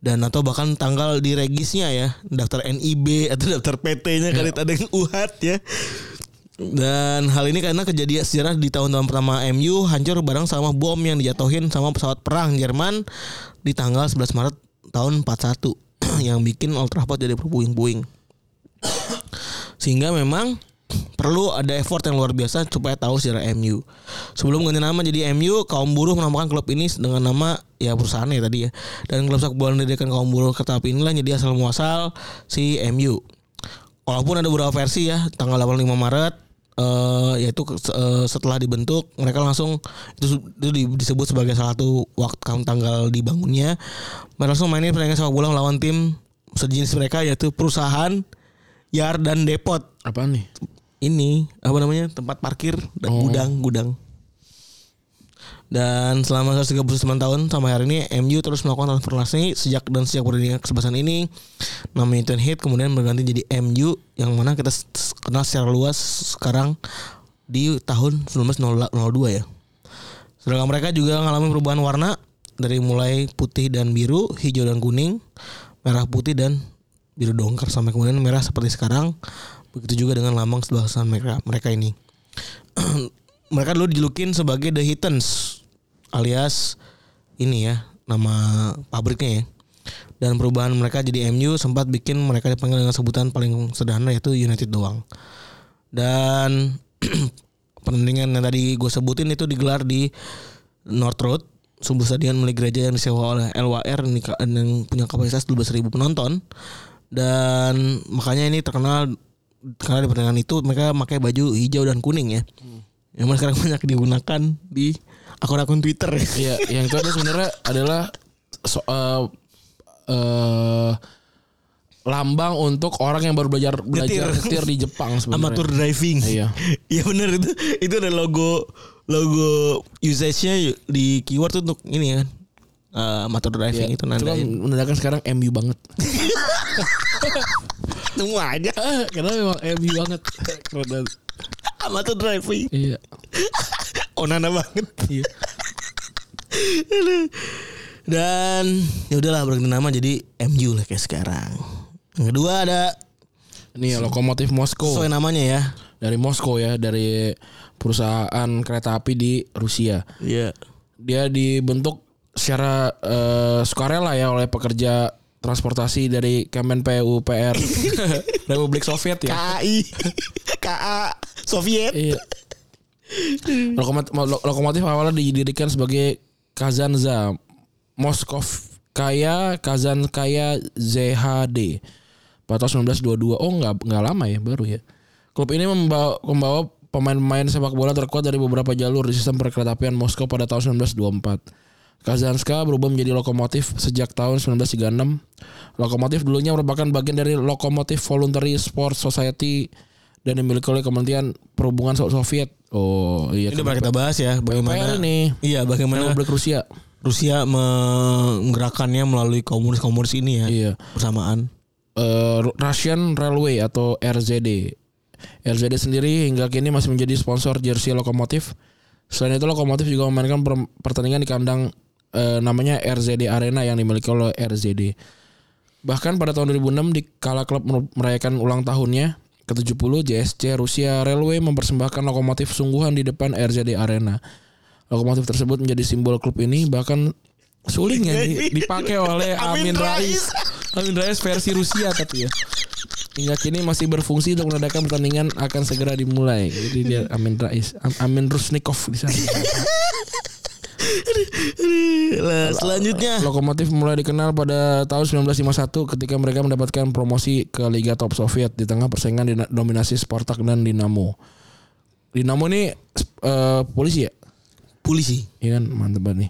Speaker 2: Dan atau bahkan tanggal di regisnya ya, daftar NIB atau *laughs* daftar PT-nya kali ada yang UHAT ya. Dan hal ini karena kejadian sejarah di tahun-tahun pertama MU hancur bareng sama bom yang dijatuhin sama pesawat perang Jerman di tanggal 11 Maret tahun 41 *clears throat* yang bikin Old Trafford jadi berpuing-puing sehingga memang perlu ada effort yang luar biasa supaya tahu sejarah MU. Sebelum ganti nama jadi MU, kaum buruh menamakan klub ini dengan nama ya perusahaannya tadi ya. Dan klub sepak bola yang didirikan kaum buruh kereta api inilah yang jadi asal muasal si MU. Walaupun ada beberapa versi ya, tanggal 85 Maret eh, yaitu ke- se- eh, setelah dibentuk mereka langsung itu, su- itu di- disebut sebagai salah satu waktu kaum tanggal dibangunnya mereka langsung mainin pertandingan sepak bola melawan tim sejenis mereka yaitu perusahaan Yard dan Depot
Speaker 3: Apaan nih?
Speaker 2: ini apa namanya tempat parkir dan gudang gudang dan selama 139 tahun sampai hari ini MU terus melakukan transformasi sejak dan sejak berdirinya kesebelasan ini nama Newton Heath kemudian berganti jadi MU yang mana kita s- s- kenal secara luas sekarang di tahun 1902 ya. Sedangkan mereka juga mengalami perubahan warna dari mulai putih dan biru, hijau dan kuning, merah putih dan biru dongker sampai kemudian merah seperti sekarang. Begitu juga dengan lambang sebelasan mereka mereka ini. *clears throat* mereka dulu dijulukin sebagai The Hittens alias ini ya nama pabriknya ya. Dan perubahan mereka jadi MU sempat bikin mereka dipanggil dengan sebutan paling sederhana yaitu United doang. Dan *clears throat* pertandingan yang tadi gue sebutin itu digelar di North Road Sumber Stadion milik gereja yang disewa oleh LWR ini ka- yang punya kapasitas 12.000 penonton dan makanya ini terkenal karena di pertandingan itu mereka pakai baju hijau dan kuning ya yang mana sekarang *laughs* banyak digunakan di akun-akun Twitter ya.
Speaker 3: Iya, yang itu ada sebenarnya adalah so, eh, eh, lambang untuk orang yang baru belajar
Speaker 2: Nyetir.
Speaker 3: belajar nyetir di Jepang sebenarnya.
Speaker 2: amatur driving
Speaker 3: Iya.
Speaker 2: *laughs* Iya bener itu itu ada logo logo usage-nya di keyword untuk ini ya kan Eh, amatur driving itu
Speaker 3: Iya.
Speaker 2: *laughs*
Speaker 3: Cuma
Speaker 2: nandain
Speaker 3: menandakan sekarang MU banget.
Speaker 2: semua aja
Speaker 3: Eh, *laughs* Karena memang MU banget. Keren banget.
Speaker 2: amatur driving
Speaker 3: Iya.
Speaker 2: onana banget *laughs*
Speaker 3: Iya.
Speaker 2: dan ya udahlah berganti nama jadi MU lah kayak sekarang yang kedua ada
Speaker 3: Nih ya, lokomotif Moskow
Speaker 2: sesuai namanya ya
Speaker 3: dari Moskow ya dari perusahaan kereta api di Rusia.
Speaker 2: Iya
Speaker 3: dia dibentuk secara eh, sukarela ya oleh pekerja transportasi dari Kemen *laughs* PUPR Republik Soviet ya. *laughs*
Speaker 2: KAI KA Soviet
Speaker 3: Iya. Lokomotif, lo- lokomotif awalnya didirikan sebagai Kazanza Moskov Kaya Kazan Kaya ZHD pada tahun 1922. Oh nggak nggak lama ya baru ya. Klub ini membawa, membawa pemain-pemain sepak bola terkuat dari beberapa jalur di sistem perkeretaapian Moskow pada tahun 1924. Kazanska berubah menjadi lokomotif sejak tahun 1936. Lokomotif dulunya merupakan bagian dari lokomotif voluntary sports society dan dimiliki oleh Kementerian Perhubungan So- Soviet. Oh iya.
Speaker 2: ini udah pernah kita bahas ya
Speaker 3: PUPR
Speaker 2: bagaimana
Speaker 3: ini
Speaker 2: iya bagaimana
Speaker 3: Republik Rusia.
Speaker 2: Rusia menggerakkannya melalui komunis-komunis ini ya
Speaker 3: Iya.
Speaker 2: bersamaan
Speaker 3: eh, Russian Railway atau RZD. RZD sendiri hingga kini masih menjadi sponsor jersey lokomotif. Selain itu lokomotif juga memainkan per- pertandingan di kandang eh, namanya RZD Arena yang dimiliki oleh RZD. Bahkan pada tahun 2006 di kala klub mer- merayakan ulang tahunnya ke-70 JSC Rusia Railway mempersembahkan lokomotif sungguhan di depan RZD Arena. Lokomotif tersebut menjadi simbol klub ini bahkan sulingnya ya, di- dipakai oleh
Speaker 2: Amin
Speaker 3: *laughs* Amin
Speaker 2: Rais.
Speaker 3: Rais. Amin Rais versi Rusia tapi ya. Hingga kini masih berfungsi untuk mengadakan pertandingan akan segera dimulai. Jadi dia Amin Rais, Am- Amin Rusnikov di *laughs* sana.
Speaker 2: Lah, selanjutnya
Speaker 3: Lokomotif mulai dikenal pada tahun 1951 ketika mereka mendapatkan promosi ke Liga Top Soviet di tengah persaingan dina- dominasi Spartak dan Dinamo. Dinamo ini sp- eh, polisi ya?
Speaker 2: polisi.
Speaker 3: Iya kan mantep banget nih.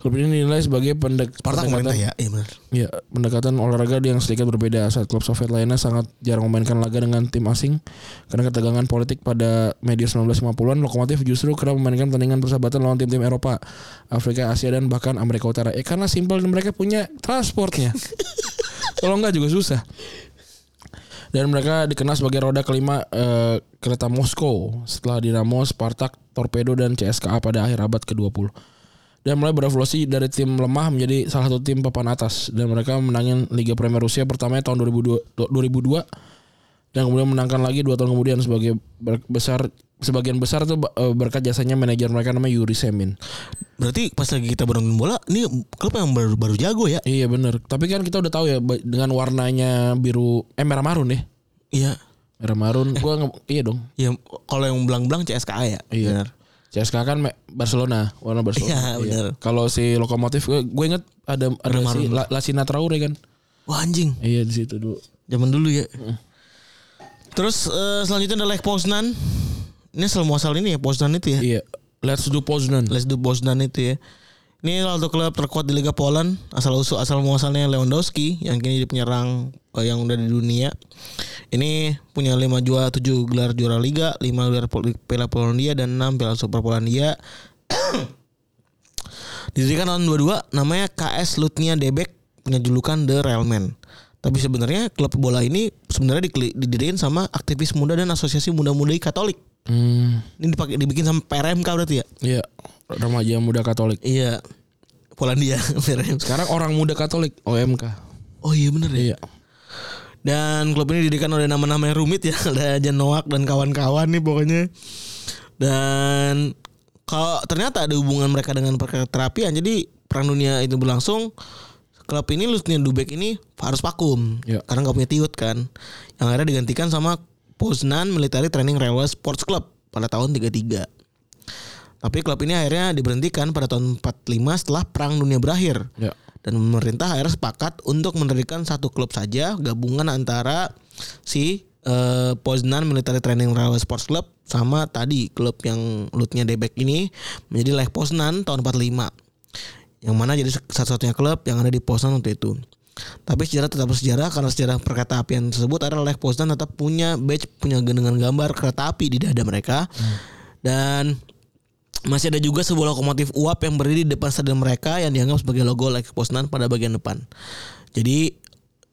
Speaker 3: Klub ini dinilai sebagai pendek
Speaker 2: Partak
Speaker 3: pendekatan-
Speaker 2: pemerintah ya, iya benar.
Speaker 3: Ya, pendekatan olahraga yang sedikit berbeda saat klub Soviet lainnya sangat jarang memainkan laga dengan tim asing karena ketegangan politik pada media 1950-an lokomotif justru kerap memainkan pertandingan persahabatan lawan tim-tim Eropa, Afrika, Asia dan bahkan Amerika Utara. Ya karena simpel mereka punya transportnya. Kalau enggak juga susah. Dan mereka dikenal sebagai roda kelima eh, kereta Moskow setelah Dinamo, Spartak, Torpedo dan CSKA pada akhir abad ke-20. Dan mulai berevolusi dari tim lemah menjadi salah satu tim papan atas dan mereka menangin Liga Premier Rusia pertamanya tahun 2002, 2002 dan kemudian menangkan lagi dua tahun kemudian sebagai ber- besar sebagian besar tuh eh, berkat jasanya manajer mereka namanya Yuri Semin.
Speaker 2: Berarti pas lagi kita bermain bola, ini klub yang baru, baru jago ya.
Speaker 3: Iya bener Tapi kan kita udah tahu ya ba- dengan warnanya biru eh merah marun deh.
Speaker 2: Iya.
Speaker 3: Merah
Speaker 2: *laughs*
Speaker 3: marun. Gua nge- iya dong.
Speaker 2: Ya kalau yang belang-belang CSKA ya.
Speaker 3: Iya.
Speaker 2: Benar.
Speaker 3: CSKA kan me- Barcelona, warna Barcelona.
Speaker 2: Iya, bener.
Speaker 3: Kalau si lokomotif gue, gue inget ada ada
Speaker 2: Warna marun.
Speaker 3: si La, Lasina Traore kan.
Speaker 2: Wah anjing.
Speaker 3: Iya di situ dulu.
Speaker 2: Zaman dulu ya. Terus eh, selanjutnya ada Lech Poznan. Ini selalu muasal ini ya Poznan itu ya.
Speaker 3: Iya. Let's do Poznan.
Speaker 2: Les du Poznan itu ya. Ini salah satu klub terkuat di Liga Poland asal usul asal muasalnya Lewandowski yang kini jadi penyerang eh, yang udah di dunia. Ini punya 5 juara 7 gelar juara liga, 5 gelar Pol- Piala Polandia dan 6 Piala Super Polandia. *coughs* Didirikan tahun 22 namanya KS Lutnia Debek punya julukan The Railman. Tapi sebenarnya klub bola ini sebenarnya dikeli- didirikan sama aktivis muda dan asosiasi muda-muda Katolik.
Speaker 3: Hmm.
Speaker 2: Ini dipakai dibikin sama PRMK berarti ya?
Speaker 3: Iya. Remaja muda Katolik.
Speaker 2: Iya. Polandia *laughs* PRMK.
Speaker 3: Sekarang orang muda Katolik OMK.
Speaker 2: Oh iya bener ya.
Speaker 3: Iya.
Speaker 2: Dan klub ini didirikan oleh nama-nama yang rumit ya. *laughs* Ada Janoak dan kawan-kawan nih pokoknya. Dan kalau ternyata ada hubungan mereka dengan perterapian. Jadi perang dunia itu berlangsung. Klub ini Lusnia Dubek ini harus vakum.
Speaker 3: Iya.
Speaker 2: Karena nggak punya tiut kan. Yang akhirnya digantikan sama Poznan Military Training Railway Sports Club pada tahun 33. Tapi klub ini akhirnya diberhentikan pada tahun 45 setelah perang dunia berakhir
Speaker 3: Iya.
Speaker 2: dan pemerintah akhirnya sepakat untuk mendirikan satu klub saja gabungan antara si eh, Poznan Military Training Railway Sports Club sama tadi klub yang lutnya Debek ini menjadi Lech Poznan tahun 45 yang mana jadi satu-satunya klub yang ada di Poznan waktu itu tapi sejarah tetap sejarah karena sejarah perkereta apian tersebut adalah Lech Poznan tetap punya badge punya dengan gambar kereta api di dada mereka dan masih ada juga sebuah lokomotif uap yang berdiri di depan stadion mereka yang dianggap sebagai logo Lech Poznan pada bagian depan. Jadi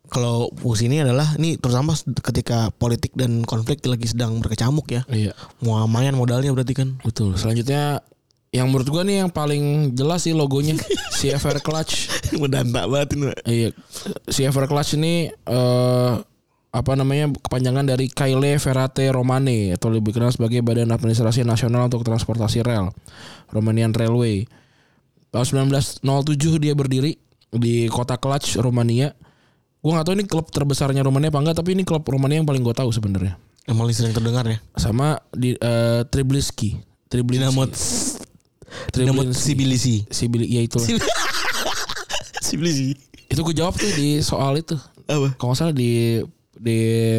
Speaker 2: kalau fungsi ini adalah ini terutama ketika politik dan konflik lagi sedang berkecamuk ya.
Speaker 3: Iya.
Speaker 2: Mau lumayan modalnya berarti kan. *laughs*
Speaker 3: Betul. Selanjutnya yang menurut gua nih yang paling jelas sih logonya *laughs* CFR Clutch.
Speaker 2: Mendanta banget ini. Pak.
Speaker 3: Iya. CFR Clutch ini eh apa namanya kepanjangan dari Kaile Ferrate Romane atau lebih dikenal sebagai Badan Administrasi Nasional untuk Transportasi Rel, Romanian Railway. Tahun 1907 dia berdiri di kota Clutch, Romania. Gua nggak tahu ini klub terbesarnya Romania apa enggak, tapi ini klub Romania yang paling gue tahu sebenarnya.
Speaker 2: Emang sering terdengar ya.
Speaker 3: Sama di eh, Triblinski. Triblinski.
Speaker 2: Dinamo Dinamo *laughs*
Speaker 3: Triblinski.
Speaker 2: Sibilisi.
Speaker 3: Sibili, ya itulah.
Speaker 2: Sibilisi.
Speaker 3: Itu gue jawab tuh di soal itu.
Speaker 2: Apa?
Speaker 3: Kalau nggak salah di di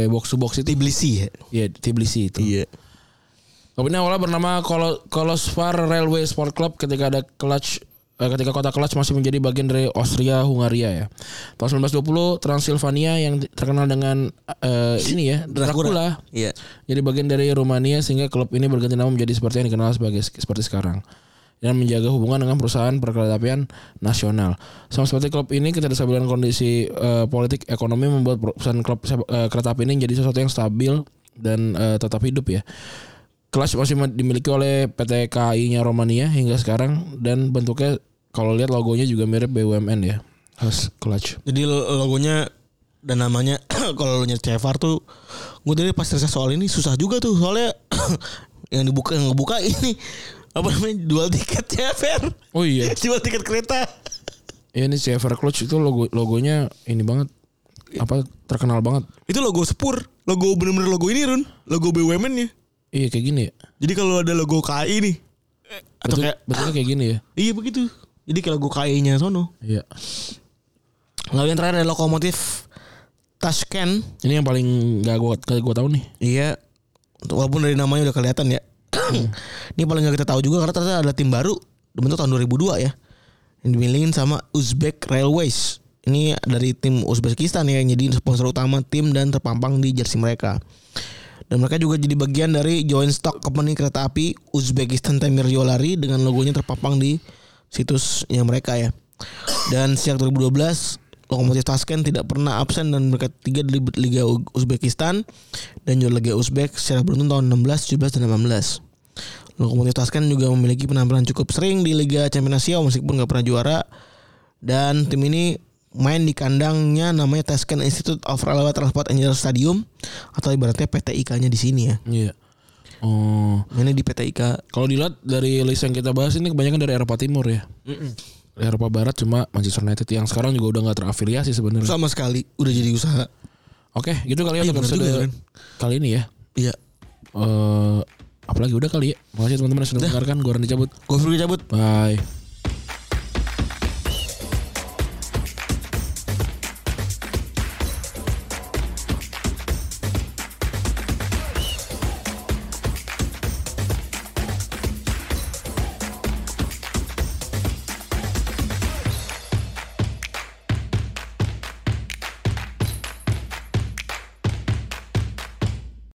Speaker 3: box to box itu
Speaker 2: Tbilisi ya.
Speaker 3: Iya, di Tbilisi itu.
Speaker 2: Iya.
Speaker 3: Klub ini awalnya bernama Kolo- Kolospar Railway Sport Club ketika ada Clutch eh, ketika kota Clutch masih menjadi bagian dari Austria Hungaria ya. Tahun 1920 Transilvania yang di- terkenal dengan eh, ini ya Dracula.
Speaker 2: Iya.
Speaker 3: Jadi bagian dari Rumania sehingga klub ini berganti nama menjadi seperti yang dikenal sebagai seperti sekarang dan menjaga hubungan dengan perusahaan perkeretaapian nasional. Sama seperti klub ini ketidakstabilan kondisi eh, politik ekonomi membuat perusahaan klub sepak- eh, kereta api ini menjadi sesuatu yang stabil dan eh, tetap hidup ya. Kelas masih dimiliki oleh PT KAI-nya Romania hingga sekarang dan bentuknya kalau lihat logonya juga mirip BUMN ya. Khas Clutch.
Speaker 2: Jadi logonya dan namanya *clears throat* kalau lu nyari Cevar tuh *clears throat* gue tadi pas riset soal ini susah juga tuh soalnya yang dibuka yang ngebuka ini apa namanya dual tiket ya Fer
Speaker 3: Oh iya.
Speaker 2: *laughs* jual tiket kereta
Speaker 3: Ya ini si Everclutch itu logo logonya ini banget apa terkenal banget.
Speaker 2: itu logo sepur logo bener-bener logo ini Run logo BUMN ya
Speaker 3: Iya kayak gini ya.
Speaker 2: jadi kalau ada logo KAI nih eh, atau
Speaker 3: Betul,
Speaker 2: kayak
Speaker 3: betulnya kayak gini ya.
Speaker 2: iya begitu jadi kayak logo KAI-nya sono
Speaker 3: Iya.
Speaker 2: lalu yang terakhir ada lokomotif Tashkent
Speaker 3: Ini yang paling gak gua gak gua tahu nih.
Speaker 2: Iya. Walaupun dari namanya udah kelihatan ya. Ini paling nggak kita tahu juga karena ternyata ada tim baru dibentuk tahun 2002 ya. Yang dimilikin sama Uzbek Railways. Ini dari tim Uzbekistan ya yang jadi sponsor utama tim dan terpampang di jersey mereka. Dan mereka juga jadi bagian dari joint stock company kereta api Uzbekistan Temir Yolari dengan logonya terpampang di situsnya mereka ya. Dan sejak 2012 Lokomotif Tashkent tidak pernah absen dan mereka tiga di Liga U- Uzbekistan dan juga Liga Uzbek secara beruntun tahun 16, 17, dan 18. Lokomotif Tashkent kan juga memiliki penampilan cukup sering di Liga Champions Asia meskipun nggak pernah juara dan tim ini main di kandangnya namanya Tashkent Institute of Railway Transport Engineer Stadium atau ibaratnya PTIK-nya di sini ya.
Speaker 3: Iya. Oh,
Speaker 2: Mainnya di PTIK
Speaker 3: kalau dilihat dari list yang kita bahas ini kebanyakan dari Eropa Timur ya. Eropa Barat cuma Manchester United yang sekarang juga udah nggak terafiliasi sebenarnya.
Speaker 2: sama sekali udah jadi usaha.
Speaker 3: Oke, gitu kali ya
Speaker 2: Iya,
Speaker 3: untuk
Speaker 2: bener juga,
Speaker 3: episode
Speaker 2: Ren.
Speaker 3: kali ini ya.
Speaker 2: Iya.
Speaker 3: Eh apalagi udah kali ya. Makasih teman-teman yang sudah mendengarkan. Gua Randy cabut.
Speaker 2: Gue perlu cabut.
Speaker 3: Bye.